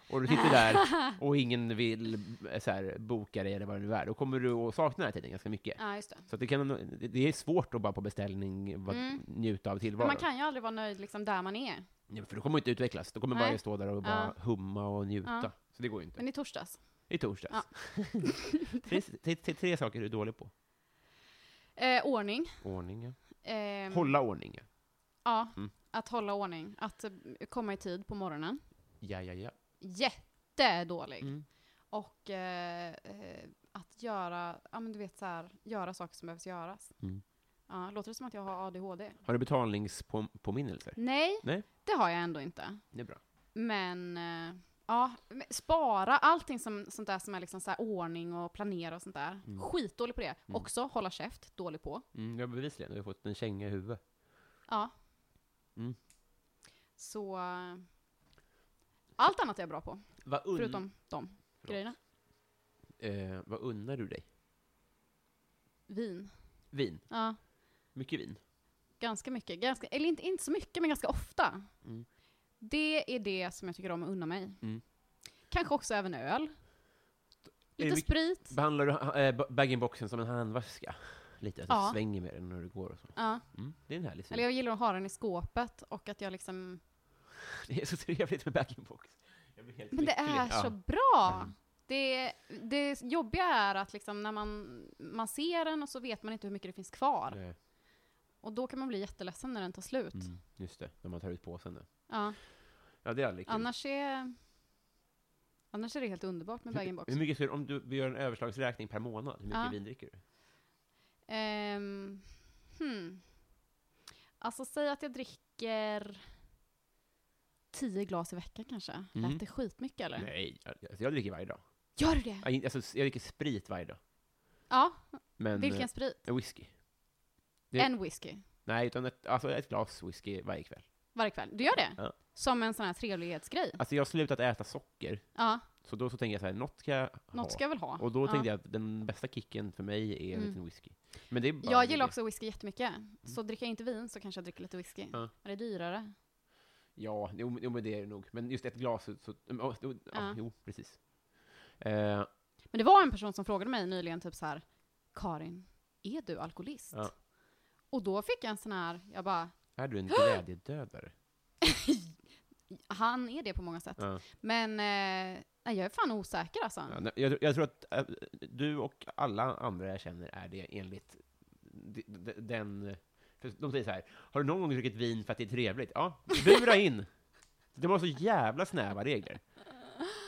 och du sitter där och ingen vill eh, så här, boka dig eller vad det nu är, då kommer du att sakna den här tiden ganska mycket.
Ja, just det.
Så att det, kan, det är svårt att bara på beställning va,
Mm.
njuta av
Men
tillvaron.
man kan ju aldrig vara nöjd liksom där man är.
Nej, för då kommer man inte utvecklas, då kommer man
Nej.
bara stå där och bara humma och njuta.
Ja.
Så det går ju inte.
Men i torsdags.
I torsdags.
Ja.
tre, tre, tre, tre saker du är dålig på.
Eh, ordning.
Ordning, ja.
Ehm,
Hålla ordning, ja.
Ja,
Mm.
att hålla ordning, att eh, komma i tid på morgonen.
Ja, ja, ja.
Jättedålig.
Mm.
Och eh, eh, att göra, ja men du vet så här, göra saker som behövs göras.
Mm.
Ja, låter det som att jag har ADHD?
Har du betalningspåminnelser?
Nej,
Nej.
det har jag ändå inte.
Det är bra.
Men eh, ja, men spara, allting som, sånt där som är liksom så här ordning och planera och sånt där.
Mm.
Skitdålig på det.
Mm.
Också hålla käft, dålig på.
Mm, ja, bevisligen. Du har fått en känga i huvudet.
Ja.
Mm.
Så eh, allt annat är jag bra på,
Vad, un-
förutom de grejerna.
Eh, vad unnar du dig?
Vin.
Vin.
Ja,
Mycket vin.
ganska mycket. Ganska, eller inte, inte så mycket, men ganska ofta.
Mm.
Det är det som jag tycker om att unna mig.
Mm.
Kanske också även öl.
det
Lite
mycket-
sprit.
Behandlar du äh, bag-in-boxen som en handväska? Lite, att du
Ja.
svänger med den när du går och så.
Ja.
Mm, det är en härlig syn.
Eller jag gillar att ha den i skåpet och att jag liksom
Det är så trevligt med bag-in-box. Jag blir helt
Men det
lycklig.
är
Ja.
så bra!
Mm.
Det, det jobbiga är att liksom när man, man ser den och så vet man inte hur mycket det finns kvar.
Nej,
Och då kan man bli jätteledsen när den tar slut.
Mm, just det, när man tar ut påsen. Där.
Ja.
Ja, det är aldrig kul.
Annars, är, annars är det helt underbart med bag
hur,
box
hur mycket skulle, om du vi gör en överslagsräkning per månad, hur mycket
Ja.
vin dricker du?
Ehm, hmm. Alltså säg att jag dricker tio glas i veckan kanske.
Mm.
Lät det skitmycket eller?
Nej, jag, alltså jag dricker varje dag.
Gör du det?
Jag, alltså, jag dricker sprit varje dag.
Ja,
Men,
vilken sprit?
eh, Whisky. det-
En whisky
Nej, utan ett, alltså ett glas whisky varje kväll.
varje kväll. Du gör det?
Ja.
Som en sån här trevlighetsgrej?
Alltså jag har slutat äta socker,
Ja.
så då så tänker jag så här, något ska jag ha.
Något ska jag väl ha.
Och då
Ja.
tänkte jag att den bästa kicken för mig är en
Mm.
liten whisky. Men det är bara
Jag gillar
det.
också whisky jättemycket. Så dricker jag inte vin så kanske jag dricker lite whisky.
Mm. Ja.
Men det är dyrare.
Ja, jo, men- jo, men det är det nog. Men just ett glas, så... så mm, ja, jo, ja,
Ja.
jo, precis. Eh,
Men det var en person som frågade mig nyligen typ så här, Karin, är du alkoholist?
Ja.
Och då fick jag en sån här, jag bara,
är du en glädjedödare?
han är det på många sätt.
Ja.
Men eh, nej, jag är fan osäker alltså.
Ja, nej, jag, jag tror att eh, du och alla andra jag känner är det enligt d- d- den... för De säger så här, har du någon gång druckit vin för att det är trevligt? Ja, bura in! De har så jävla snäva regler.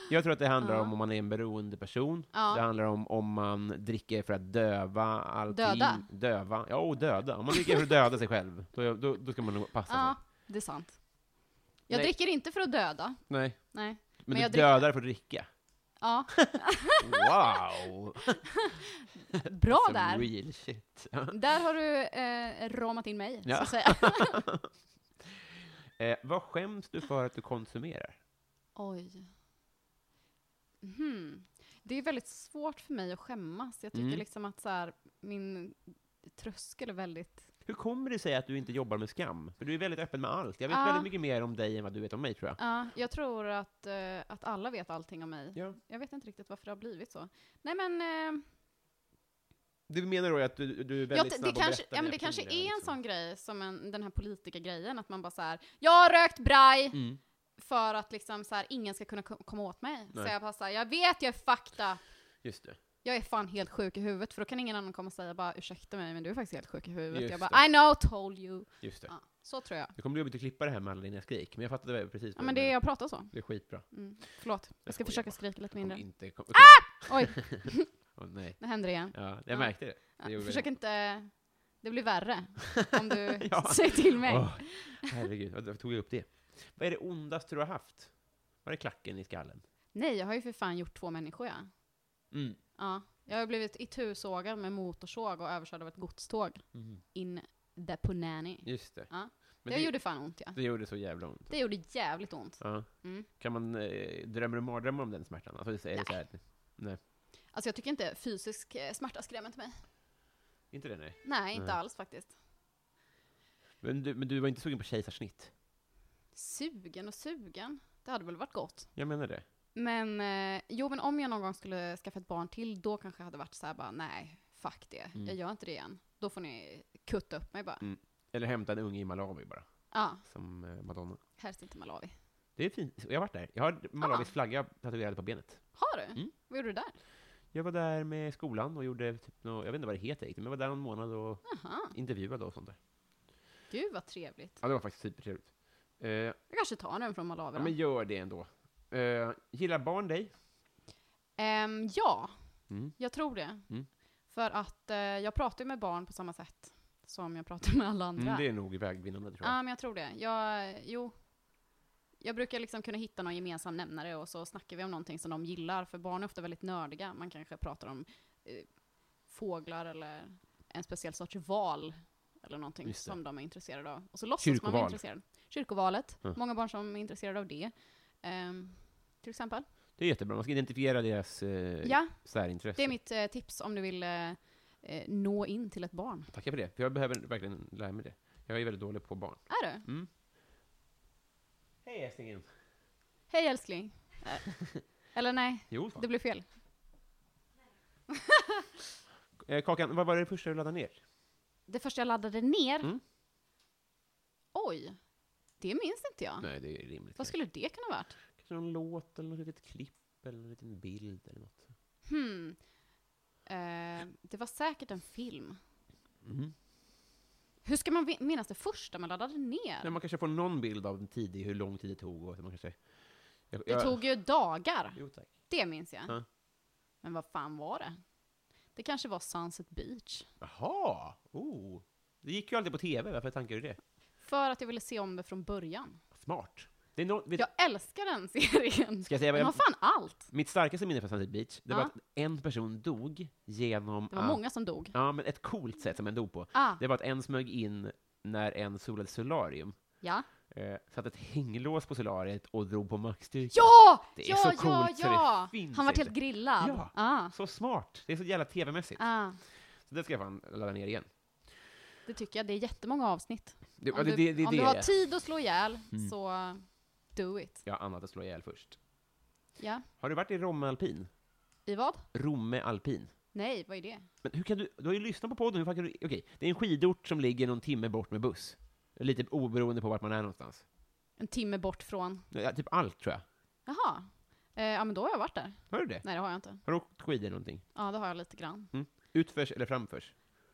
Jag tror att det handlar om om man är en beroende person,
Ja.
det handlar om om man dricker för att döva allting.
Döda.
Döva. Ja, och döda. Om man dricker för att döda sig själv, då, då, då ska man nog passa
Ja,
sig.
det är sant. Jag
Nej.
dricker inte för att döda.
Nej.
Nej.
Men,
Men
du
jag dricker-
dödar för att dricka.
Ja,
Wow!
bra
Some
där.
Real shit.
Där har du eh, ramat in mig,
Ja.
så att säga.
Eh, vad skäms du för att du konsumerar?
Oj. Mhm. Det är väldigt svårt för mig att skämmas. Jag tycker
Mm.
liksom att så här, min tröskel är väldigt...
Hur kommer det sig att du inte jobbar med skam? För du är väldigt öppen med allt. Jag vet
Ja.
väldigt mycket mer om dig än vad du vet om mig, tror jag.
Ja, jag tror att, eh, att alla vet allting om mig.
Ja.
Jag vet inte riktigt varför det har blivit så. Nej men, eh,
Du menar då att du, du är
jag,
väldigt snabb
det
att
kanske,
berätta
ja,
dina
men det kanske
personliga,
är en
liksom.
sån grej som en, den här politikergrejen, att man bara så här, jag har rökt braj
Mm.
för att liksom så här, ingen ska kunna ko- komma åt mig.
Nej.
Så jag bara så här, jag vet jag är fakta.
Just det.
jag är fan helt sjuk i huvudet, för då kan ingen annan komma och säga bara ursäkta mig, men du är faktiskt helt sjuk i huvudet.
Just
jag bara I know, told you.
Just det.
Ja, så tror jag.
Det kommer bli jobbigt att klippa det här med alla dina skrik, men jag fattade väl precis.
Ja
vad
men
du
det,
menar.
jag pratar så.
det är skitbra.
Mm. Förlåt, jag ska
Mm. skojar
försöka
bara.
skrika lite
Kommer
mindre.
Inte... Ah!
Oj,
nej.
det händer igen.
Ja, jag
Ja.
märkte det.
Ja,
det gjorde
försök
vi.
inte, det blir värre om du
Ja.
säger till mig.
Åh, herregud, varför tog jag upp det? Vad är det ondaste du har haft? Var det klacken i skallen?
Nej, jag har ju för fan gjort två människor ja.
Mm.
ja. Jag har blivit itusågad med motorsåg och överkörd av ett godståg
Mm.
in the punani.
Just det.
Ja.
Men
det
det,
gjorde fan ont ja.
det gjorde så jävla ont.
Det gjorde jävligt ont.
Ja.
Mm.
Kan man, eh, drömmer du mardrömmar om den smärtan? Alltså, är det så här, att- nej.
Alltså jag tycker inte fysisk eh, smärta skrämmer inte mig.
Inte det, nej.
Nej, inte
Nej.
alls faktiskt.
Men du, men du var inte sugen på kejsarsnitt?
Sugen och sugen. Det hade väl varit gott.
Jag menar det.
Men eh, jo, men om jag någon gång skulle skaffa ett barn till, då kanske jag hade varit så här bara, nej, fuck det.
Mm.
Jag gör inte det igen. Då får ni kutta upp mig bara.
Mm. Eller hämta en unge i Malawi bara,
Ja,
som eh, Madonna.
helst inte Malawi.
Det är fint. Jag har varit där. Jag har Malawis
Ah.
flagga tatuerad på benet.
Har du?
Mm.
Vad gjorde du där?
Jag var där med skolan och gjorde typ nå jag vet inte vad det heter riktigt, men jag var där någon månad och
Jaha,
intervjuade och sånt där.
Gud vad trevligt.
Ja, det var faktiskt supertrevligt. Eh, ja,
Jag kanske tar den från Malawi då.
men gör det ändå. Eh, gillar barn dig?
Ehm, ja,
Mm.
jag tror det.
Mm.
För att eh, jag pratar ju med barn på samma sätt som jag pratar med alla andra.
Mm, det är nog vägvinnande, tror jag.
Ja, men jag tror det. Jag, jo. Jag brukar liksom kunna hitta någon gemensam nämnare och så snackar vi om någonting som de gillar, för barn är ofta väldigt nördiga. Man kanske pratar om eh, fåglar eller en speciell sorts val eller någonting
Just det.
som de är intresserade av. Och så låtsas man
Kyrkoval.
vara intresserad. Kyrkovalet.
Ja.
Många barn som är intresserade av det. Ehm, till exempel.
Det är jättebra. Man ska identifiera deras eh,
Ja,
särintresse.
det är mitt eh, tips om du vill eh, eh, nå in till ett barn.
Tackar för det, för jag behöver verkligen lära mig det. Jag är väldigt dålig på barn.
Är du?
Hej älsklingen!
Hej älskling. Eh, Eller nej,
Jo,
det blev fel.
eh, Kakan, vad var det första du laddade ner?
Det första jag laddade ner?
Mm.
Oj, det minns inte jag.
Nej, det är rimligt.
Ah. Vad skulle det kunna ha varit?
Kanske någon låt eller något litet klipp eller en liten bild eller något.
Hmm. Eh, det var säkert en film.
Mm.
Hur ska man vi- minnas det första man laddade ner?
Nej, man kanske får någon bild av en tidig, hur lång tid det tog och hur man kanske... Jag,
det tog ju dagar.
Jo, tack.
Det minns jag.
Ja.
Men vad fan var det? Det kanske var Sunset Beach.
Jaha! Oh! Det gick ju alltid på TV, varför tankar du det?
För att jag ville se om det från början.
Smart! Det är no, vet,
Jag älskar den serien.
Ska jag säga vad
Den
jag-
har fan allt.
Mitt starkaste minne från Sunset Beach, det var
Ja.
att en person dog genom
Ah. Det var
att...
många som dog.
Ja, men ett coolt sätt som en dog på.
Ah,
Det var att en smög in när en solade solarium,
ja.
eh, satte ett hänglås på solariet och drog på maxstyrka.
Ja!
Det är
ja,
så
ja,
coolt så det
ja.
finns
Han var
inte.
helt grillad.
Ja.
Ah,
Så smart! Det är så jävla TV-mässigt.
ah.
Så det ska jag fan ladda ner igen.
Det tycker jag. Det är jättemånga avsnitt.
Det, ja,
om
det,
du,
det, det,
om
det
du har
är.
tid att slå ihjäl,
Mm.
så do it.
Jag har annat att slå ihjäl först.
Ja.
Har du varit i Romme Alpin?
I vad?
Romme Alpin?
Nej, vad är det?
Men hur kan du, du har ju lyssnat på podden, hur fan kan du, okej, det är en skidort som ligger någon timme bort med buss. Lite oberoende på vart man är någonstans.
En timme bort från...
Ja, typ allt tror jag.
Jaha. Eh, ja, men då har jag varit där.
Har du det?
Nej, det har jag inte.
Har du åkt skidor någonting?
Ja, det har jag lite grann.
Utförs eller framförs?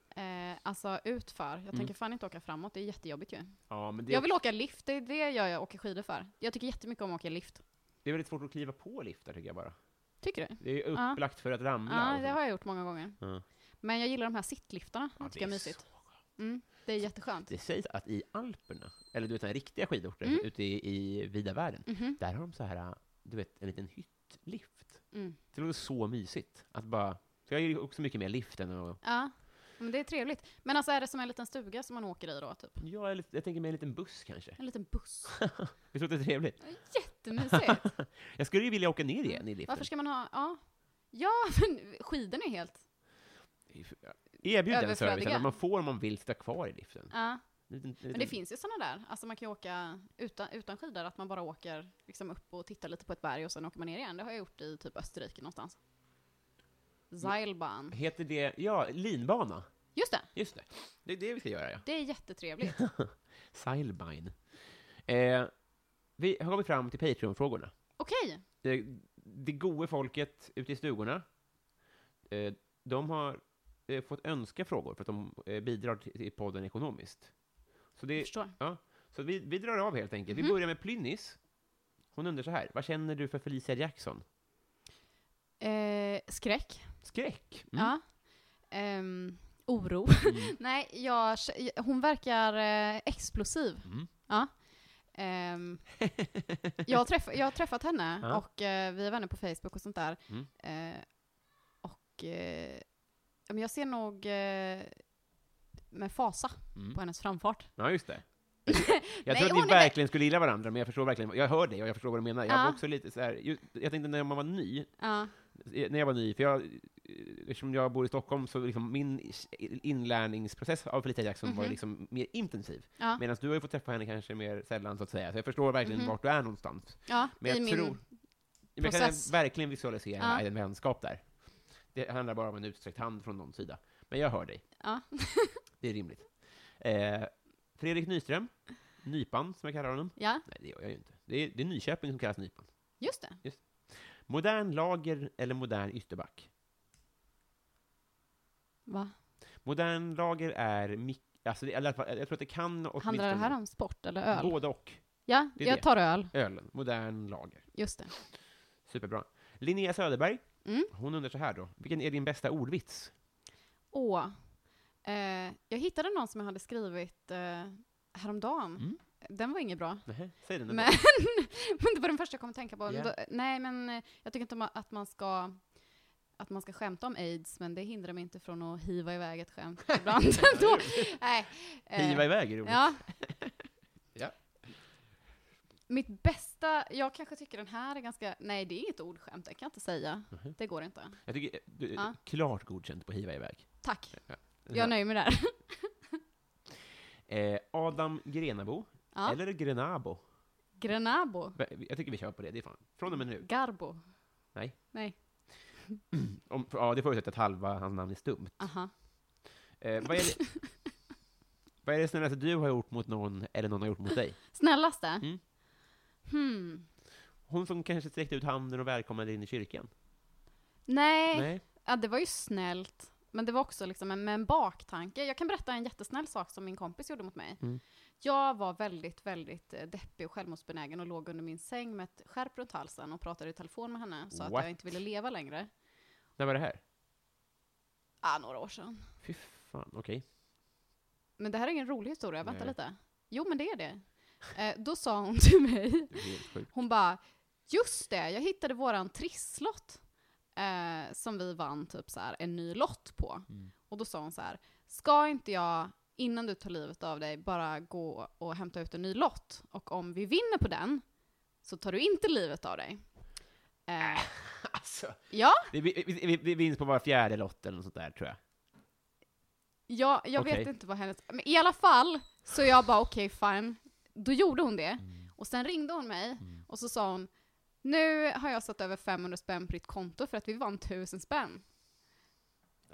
Eh, alltså, utför. Jag
Mm.
tänker fan inte åka framåt. Det är jättejobbigt ju.
Ja, men det
Jag
är,
vill åka lift. Det är det jag, jag åker skidor för. Jag tycker jättemycket om att åka lift.
det är väldigt svårt att kliva på liftar tycker jag bara.
Tycker du?
Det är ju
Ja.
upplagt för att ramla.
Mm,
alltså.
Ja,
och
det
så.
har jag gjort många gånger.
Ja.
Men jag gillar de här sittliftarna.
Ja,
Det tycker jag är mysigt.
så-
Mm, det är jätteskönt.
Det sägs att i Alperna, eller du vet den riktiga skidorter
Mm.
ute i, i vida världen,
Mhm,
där har de så här, du vet, en liten hyttlift.
mm.
Det låter så mysigt. Att bara, så jag gillar också mycket mer lift än att
Ja, men det är trevligt. Men alltså är det som en liten stuga som man åker i då, typ?
Ja, eller- jag tänker mig en liten buss kanske.
En liten buss.
Visst låter det trevligt?
Jättemysigt.
Jag skulle ju vilja åka ner igen i liften.
Varför ska man ha, ja. Ja, men skidorna är helt,
Erbjud den
Överflödiga.
servicen att man får om man vill sitta kvar i liften.
ja.
En liten- en
Men det
liten-
finns ju sådana där, alltså man kan ju åka utan, utan skidor, att man bara åker liksom upp och tittar lite på ett berg och sen åker man ner igen. Det har jag gjort i typ Österrike någonstans. Mm. Seilbahn.
Heter det, ja, linbana.
Just det,
Just det. Det är det vi ska göra, ja.
det är jättetrevligt.
Seilbine. Eh, vi har kommit fram till Patreon-frågorna.
Okej,
Det, det gode folket ute i stugorna, eh, de har eh, fått önska frågor för att de eh, bidrar till, till podden ekonomiskt. Så det,
jag förstår.
Så vi, vi drar av helt enkelt. Vi
Mhm.
börjar med Plynnis. Hon undrar så här, vad känner du för Felicia Jackson?
Eh, skräck.
Skräck? Mm.
Ja. Ehm, oro. Nej, jag, hon verkar eh, explosiv.
Mm.
Ja. Ehm, jag, har träff, jag har träffat henne
Ja.
och eh, vi är vänner på Facebook och sånt där.
Mm.
Eh, och eh, ja, men jag ser nog eh, med fasa
Mm.
på hennes framfart.
Ja, just det. Jag
Nej,
tror att
hon
ni
är väl-
verkligen skulle gilla varandra, men jag förstår verkligen, jag hör dig och jag förstår vad du menar. Jag var
Ja.
också lite så här, ju- jag tänkte när man var ny,
Ja.
eh, när jag var ny, för jag, eh, eftersom jag bor i Stockholm, så liksom min inlärningsprocess av Felicia Jackson var ju
Mhm.
liksom mer intensiv.
Ja.
Medan du har ju fått träffa henne kanske mer sällan, så att säga. Så jag förstår verkligen
Mhm.
vart du är någonstans.
ja,
Men
i
jag
min...
tror... Men jag kan
process.
verkligen visualisera
Ja.
en vänskap där. Det handlar bara om en utsträckt hand från någon sida. Men jag hör dig,
Ja.
det är rimligt. Eh, Fredrik Nyström, Nypan som jag kallar honom.
ja,
Nej, det gör jag ju inte. Det är, det är Nyköping som kallas Nypan.
just det.
Modern lager eller modern ytterback?
Va?
Modern lager är mik- Alltså, det, eller, i alla fall- jag tror att det kan
Handlar det här
åtminstone-
om sport eller öl?
Både och.
ja,
det är
jag
det.
tar öl.
Ölen, modern lager.
Just det.
Superbra. Linnea Söderberg,
Mm.
hon undrar så här då. Vilken är din bästa ordvits?
Åh. Eh, jag hittade någon som jag hade skrivit eh, häromdagen.
Mm.
Den var inget bra.
Nähä, säg den.
Men,
ändå.
men det var den första jag kom att tänka på.
Ja.
Då, nej, men eh, jag tycker inte om att man ska att man ska skämta om aids, men det hindrar mig inte från att hiva iväg ett skämt ibland. Då, nej, eh,
Hiva iväg är roligt.
Ja.
Ja.
Mitt bästa, jag kanske tycker den här är ganska, nej det är inget ordskämt, det kan jag inte säga.
Mhm.
Det går inte.
Jag tycker du,
Ja.
klart godkänt på hiva iväg.
Tack,
Ja.
jag nöjer mig där.
Eh, Adam Grenabo,
Ja.
eller Grenabo.
Grenabo,
Jag tycker vi kör på det, det är fan. Från och med nu.
Garbo.
Nej.
Nej,
Om, ja, det förutsätter att halva hans namn är stumt.
aha.
Eh, vad, är det, vad är det snällaste du har gjort mot någon, eller någon har gjort mot dig?
Snällaste?
Mm.
Hmm.
Hon som kanske sträckte ut handen och välkomnade in i kyrkan?
Nej.
Nej.
Ja, det var ju snällt. Men det var också liksom en, med en baktanke. Jag kan berätta en jättesnäll sak som min kompis gjorde mot mig.
Mm.
Jag var väldigt, väldigt eh, deppig och självmordsbenägen och låg under min säng med ett skärp runt halsen och pratade i telefon med henne. Så att
What?
jag inte ville leva längre.
När var det här?
Ah, några år sedan.
Fy fan, okej.
Men det här är ingen rolig historia, vänta
Nej.
lite. Jo, men det är det. Eh, då sa hon till mig,
Det är helt sjukt.
hon bara, just det, jag hittade våran trisslott. Eh, som vi vann typ så här, en ny lott på. Och då sa hon så här, ska inte jag innan du tar livet av dig bara gå och hämta ut en ny lott? Och om vi vinner på den så tar du inte livet av dig. Eh,
Alltså,
ja,
det, vi, vi, vi, vi vinns på var fjärde lott eller något sånt där, tror jag.
ja, jag vet
Okej.
inte vad hennes... Men i alla fall så jag bara okej fine. Då gjorde hon det.
Mm.
Och sen ringde hon mig och så sa hon, nu har jag satt över 500 spänn på ditt konto för att vi vann 1000 spänn.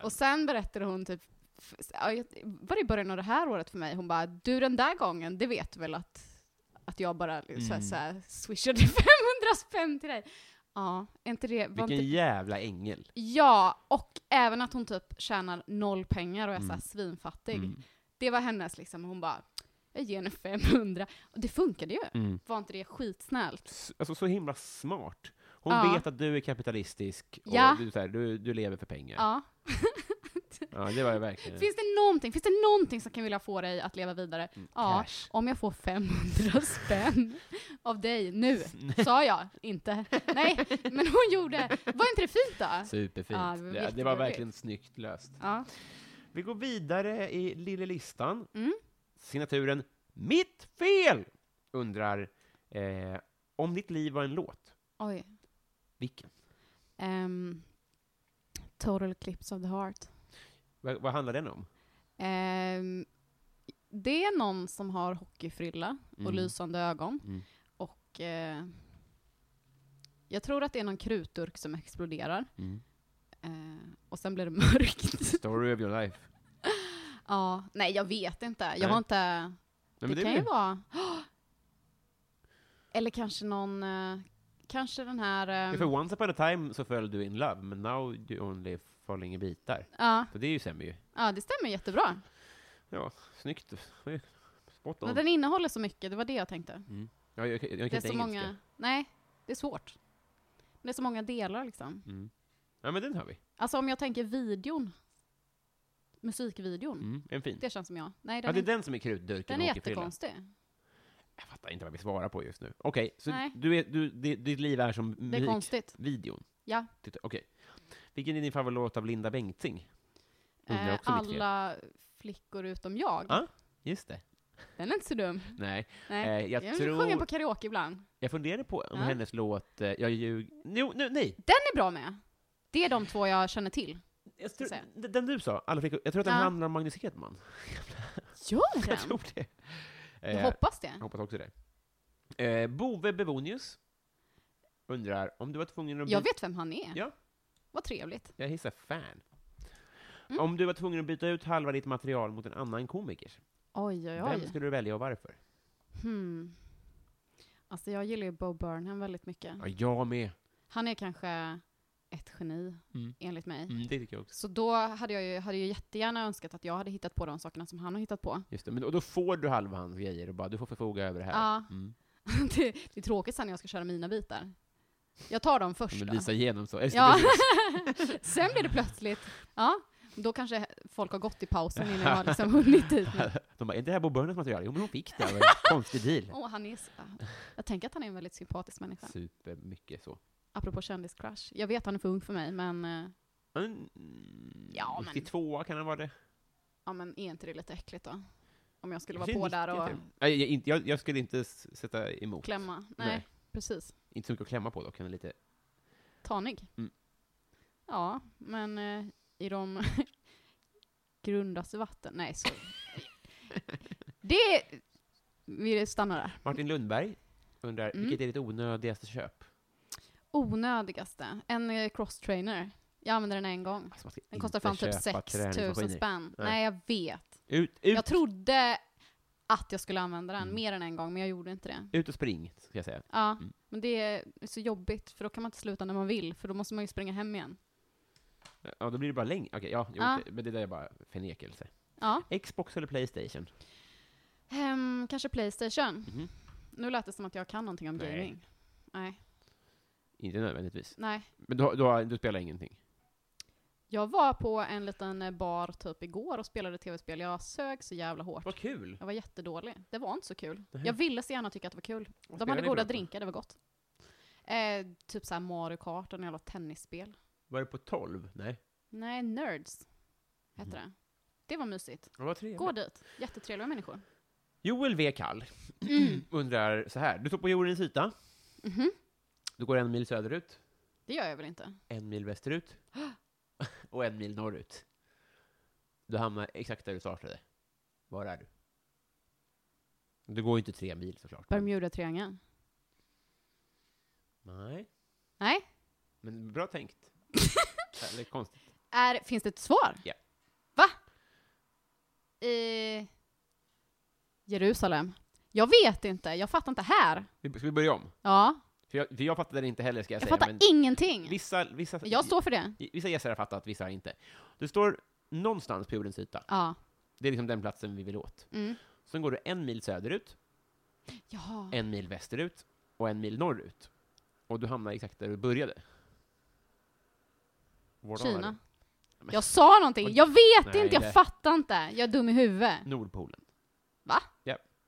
Och sen berättade hon typ, f- ja, jag- var det i början av det här året för mig, hon bara, du den där gången, det vet du väl att, att jag bara så här, så
Mm.
här, swishade 500 spänn till dig. Ja, är inte det, var
Vilken
inte,
jävla ängel.
ja, och även att hon typ tjänar noll pengar och är så
Mm.
här svinfattig. Det var hennes liksom, hon bara, jag ger henne 500. Och det funkade ju.
Mm.
Var inte det skitsnällt?
S- Alltså, så himla smart. Hon
Ja.
vet att du är kapitalistisk och
Ja.
du, så här, du, du lever för pengar.
Ja.
Ja, det var jag verkligen.
Finns det någonting, finns det någonting som kan vilja få dig att leva vidare? Ja,
Mm, Cash.
om jag får 500 spänn av dig nu, sa jag inte. Nej, men hon gjorde, var inte det fint då?
Superfint.
Ja,
det,
det var
det var
jätteroligt.
verkligen snyggt löst.
Ja.
Vi går vidare i lille listan.
Mm.
Signaturen Mitt fel! undrar eh, om ditt liv var en låt.
Oj.
Vilken?
Ehm, total Eclipse of the Heart.
Vad, vad handlar den om?
Ehm, det är någon som har hockeyfrilla och
Mm.
lysande ögon.
Mm.
Och eh, jag tror att det är någon krutdurk som exploderar.
Mm.
Eh, och sen blir det mörkt.
Story of your life.
Ja, nej jag vet inte. Jag
Nej.
har inte...
Nej, men
det,
det
kan
blir-
ju vara... Eller kanske någon... eh, Kanske den här...
Ja,
eh,
för once upon a time så föll du in love, men now you only falling i bitar.
Ja,
Så det är ju sämre ju.
ja, det stämmer jättebra.
Ja, snyggt. Oj, Spot on.
Men den innehåller så mycket, det var det jag tänkte.
Ja, jag, jag, jag
Det
kan
är
inte
så
engelska.
många... Nej, det är svårt. Men Det är så många delar liksom.
Mm. Ja, men den har vi.
Alltså om jag tänker videon. Musikvideon.
Mm. En fin.
Det känns som jag. Nej, den,
ja, det är
är,
den som är krutdurken
den är
och hockeyfrillan.
jättekonstig.
Jag fattar inte vad vi svarar på just nu. Okej,
Nej.
så du är, du, di- ditt liv är som
Det är
musik,
konstigt.
videon?
Ja.
Titta, Okej. Vilken är din favoritlåt av Linda Bengtzing? Undrar
Eh,
också mitt fel.
alla flickor utom jag.
Ja. Just det.
Den är inte så dum.
Nej,
Mm. Nej.
Eh, jag,
Jag
tror...
sjunger på karaoke ibland.
Jag funderade på om
Ja.
hennes låt eh, Jag ljug... Jo, nu, nej!
Den är bra med. Det är de två jag känner till.
Jag
Ska
tror,
säga.
den den du sa, Alla flickor, jag tror att den
Ja.
handlar om Magnus Hedman.
Gör
Jag tror det.
Jag
Eh,
hoppas det.
jag hoppas också det. Eh, Bove Bevonius undrar om du var tvungen att
Jag
byta-
vet vem han är.
Ja.
Vad trevligt.
Jag hissar fan.
Mm.
Om du var tvungen att byta ut halva ditt material mot en annan komiker,
Oj, oj,
Vem
oj.
skulle du välja och varför?
Mm. Hmm. Alltså jag gillar ju Bo Burnham väldigt mycket.
Ja, jag med.
Han är kanske ett geni,
Mm.
enligt mig.
Mm, det tycker jag också.
Så då hade jag ju hade jag jättegärna önskat att jag hade hittat på de sakerna som han har hittat på.
Just det. Men, och då får du halva hans grejer och bara, du får förfoga över det här.
Ja,
Mm.
det, det är tråkigt sen när jag ska köra mina bitar. Jag tar dem först
Men
då.
visa igenom så. Just det,
Ja.
precis.
sen blir det plötsligt, ja, då kanske folk har gått i pausen innan jag har liksom hunnit dit. Men-
De bara, är det här Bo Burnhams material? Jo, men hon fick det. Det var en konstig deal.
Åh, han är, s- jag tänker att han är en väldigt sympatisk människa.
Supermycket så.
Apropå kändiscrush. Jag vet han är för ung för mig, men, eh,
Mm,
Ja, men-
92 kan han vara det. ja
ja, men är inte det lite äckligt då? Om jag skulle vara på där och
Nej, jag, inte- jag, jag skulle inte s- sätta emot.
klämma. Nej,
typ- Nej.
precis.
Inte så mycket att klämma på dock. Han är lite...
Tanig.
Mm.
Ja, men eh, i de grundaste vatten... Nej, så... det... Vi stannar där.
Martin Lundberg undrar,
Mm.
vilket är ditt onödigaste köp?
Onödigaste. En eh, cross-trainer. Jag använde den en gång.
Alltså, man ska
Den kostar
inte
fan typ
köpa
6 000
träningsmaskiner.
spänn.
Nej.
Nej. jag vet.
Ut, ut,
Jag trodde att jag skulle använda den
Mm.
mer än en gång, men jag gjorde inte det.
ut och spring, ska jag säga.
Ja,
Mm.
men det är så jobbigt, för då kan man inte sluta när man vill, för då måste man ju springa hem igen.
Ja, då blir det bara längre. Okej, ja, jo,
Ja.
okej. men det där är bara förnekelse.
Ja.
Xbox eller Playstation?
Ehm, kanske Playstation.
Mhm.
Nu lät det som att jag kan någonting om
Nej.
gaming. Nej.
Inte nödvändigtvis.
Nej.
Men du, har- du, har- du spelar ingenting?
Jag var på en liten eh, bar typ igår och spelade tv-spel. Jag sög så jävla hårt.
Vad kul!
Jag var jättedålig. Det var inte så kul.
Nähä.
Jag ville så gärna tycka att det var kul. De hade goda drinkar, det var gott. Eh, typ såhär Mario Kart och något jävla tennisspel.
Var det på 12? Nej.
Nej, Nerds hette det. Det var mysigt.
Det var Mhm. trevligt.
Gå dit. Jättetrevliga människor.
Joel V. Kall
Mm.
undrar så här. Du står på jordens yta.
Mhm.
Du går en mil söderut,
Det gör jag väl inte?
en mil västerut och en mil norrut. Du hamnar exakt där du startade. Var är du? Du går ju inte tre mil såklart. men-
Bermuda-triangeln?
Nej.
Nej.
Men bra tänkt. Eller konstigt.
Är, finns det ett svar?
Ja.
Va? I Jerusalem? Jag vet inte, jag fattar inte här.
Vi- Ska vi börja om?
Ja,
För jag, för jag fattade det inte heller ska jag,
jag,
säga.
fattar
men
ingenting.
vissa, vissa,
Jag står för det.
vissa gäster har fattat, vissa har inte. Du står någonstans på jordens yta.
Ja.
Det är liksom den platsen vi vill åt.
Mm.
Sen går du en mil söderut,
Ja.
en mil västerut och en mil norrut. Och du hamnar exakt där du började. Var hamnar
Kina.
Men-
Jag sa någonting, jag vet
Nej,
inte, jag
det-
fattar inte. Jag är dum i huvudet.
du? Nordpolen.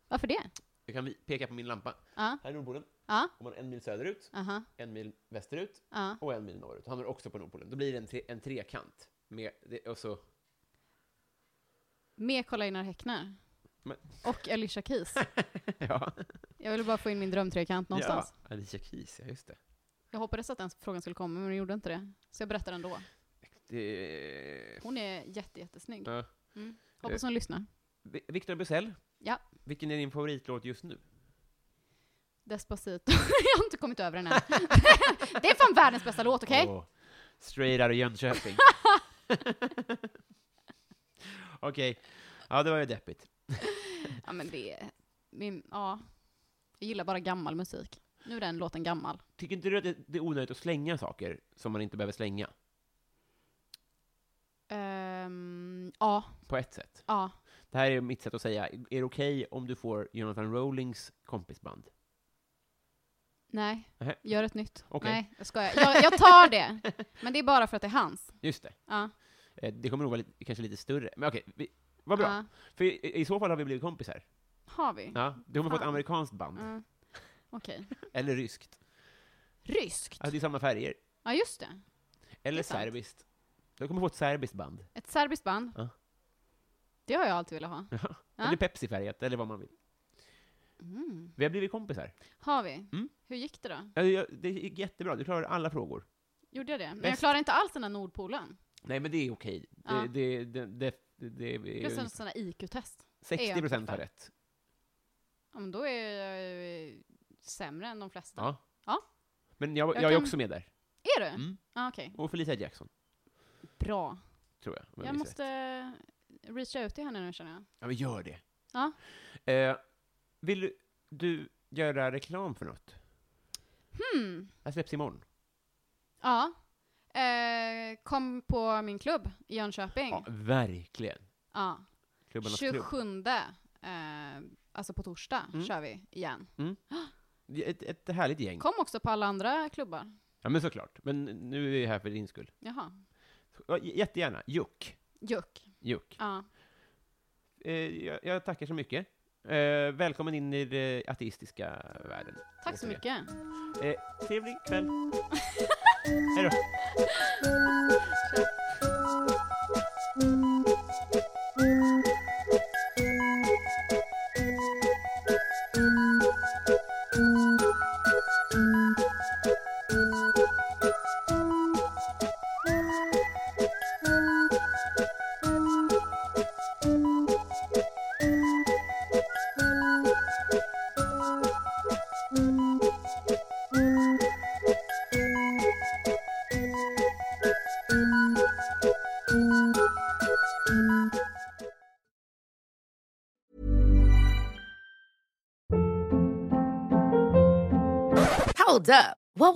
Varför det?
Jag kan vi- peka på min lampa.
Ja,
Här är Nordpolen.
ja,
Om man en mil söderut,
aha,
en mil västerut
ja.
och en mil norrut. Då hamnar du också på Nordpolen. Då blir det en, tre, en trekant. Med, det, och så,
Med Karl Einar Häckner.
Men-
Och Alicia Keys.
ja.
Jag ville bara få in min drömtrekant någonstans.
Ja, Alicia Keys, ja just det.
Jag hoppades att den frågan skulle komma, men den gjorde inte det. Så jag berättar ändå.
det...
Hon är jätte, jättesnygg.
Ja. Eh.
Mm. Hoppas hon lyssnar.
Vi- Victor Bussell?
Ja.
Vilken är din favoritlåt just nu?
Despacito. jag har inte kommit över den än. det är fan världens bästa låt, okej?
Åh, straight out of Jönköping. Okej. Ja, det var ju deppigt.
Ja, men det är... Min, ja. Jag gillar bara gammal musik. Nu är den låten gammal.
Tycker inte du att det det är onödigt att slänga saker som man inte behöver slänga?
Ehm, ja,
På ett sätt.
ja.
Det här är mitt sätt att säga, är det okej om du får Jonathan Rowlings kompisband?
Nej.
Nähä.
Gör ett nytt.
Okej.
Nej, jag skojar. Jag, jag tar det. Men det är bara för att det är hans.
Just det.
Ja.
Eh, Det kommer nog vara lite, kanske lite större. Men okej, vi- vad bra.
Ja.
För i, i så fall har vi blivit kompisar.
Har vi?
Ja, du kommer få ett
Fan.
amerikanskt band.
Mm. Okej.
Eller ryskt.
Ryskt?
Alltså det är samma färger.
Ja, just det. Det
Eller
är sant.
serbiskt. Du kommer få ett serbiskt band.
Ett serbiskt band.
Ja.
Det har jag alltid velat ha.
Jaha.
Ja.
Eller Pepsi-färgat, eller vad man vill.
Mm.
Vi har blivit kompisar.
Har vi?
Mm.
Hur gick det då?
Ja, det- Det gick jättebra, du klarade alla frågor.
Gjorde jag det? Men jag
Bäst.
klarade inte alls den där Nordpolen.
Nej, men det är okej.
Ja.
Det, det, det, det, det
Plus
är
en sån där IQ-test.
60 procent har rätt.
Ja, men då är jag eh, sämre än de flesta.
Ja.
Ja.
Men jag, jag,
Jag
är
kan-
också med där.
Är du?
Mm.
Ja, okej.
Och Felicia Jackson,
Bra.
tror jag. om
jag
minns rätt.
måste reacha ut till henne nu känner jag.
Ja, men gör det.
Ja.
Eh, vill du, du göra reklam för något?
Hmm.
Jag släpps imorgon.
Ja. eh, kom på min klubb i Jönköping.
Ja, verkligen.
Ja.
Klubbarnas klubb.
27, eh, alltså på torsdag,
Mm.
kör vi igen.
Ett, ett härligt gäng.
Kom också på alla andra klubbar.
Ja, men såklart. Men nu är vi här för din skull.
Jaha.
Ja, j- Jättegärna. Juck.
Juck.
Juck.
Ja.
Eh, jag, jag tackar så mycket. Eh, välkommen in i den ateistiska världen.
Tack så
Återigen.
mycket.
Eh, trevlig kväll. Hej då.
Hold up. What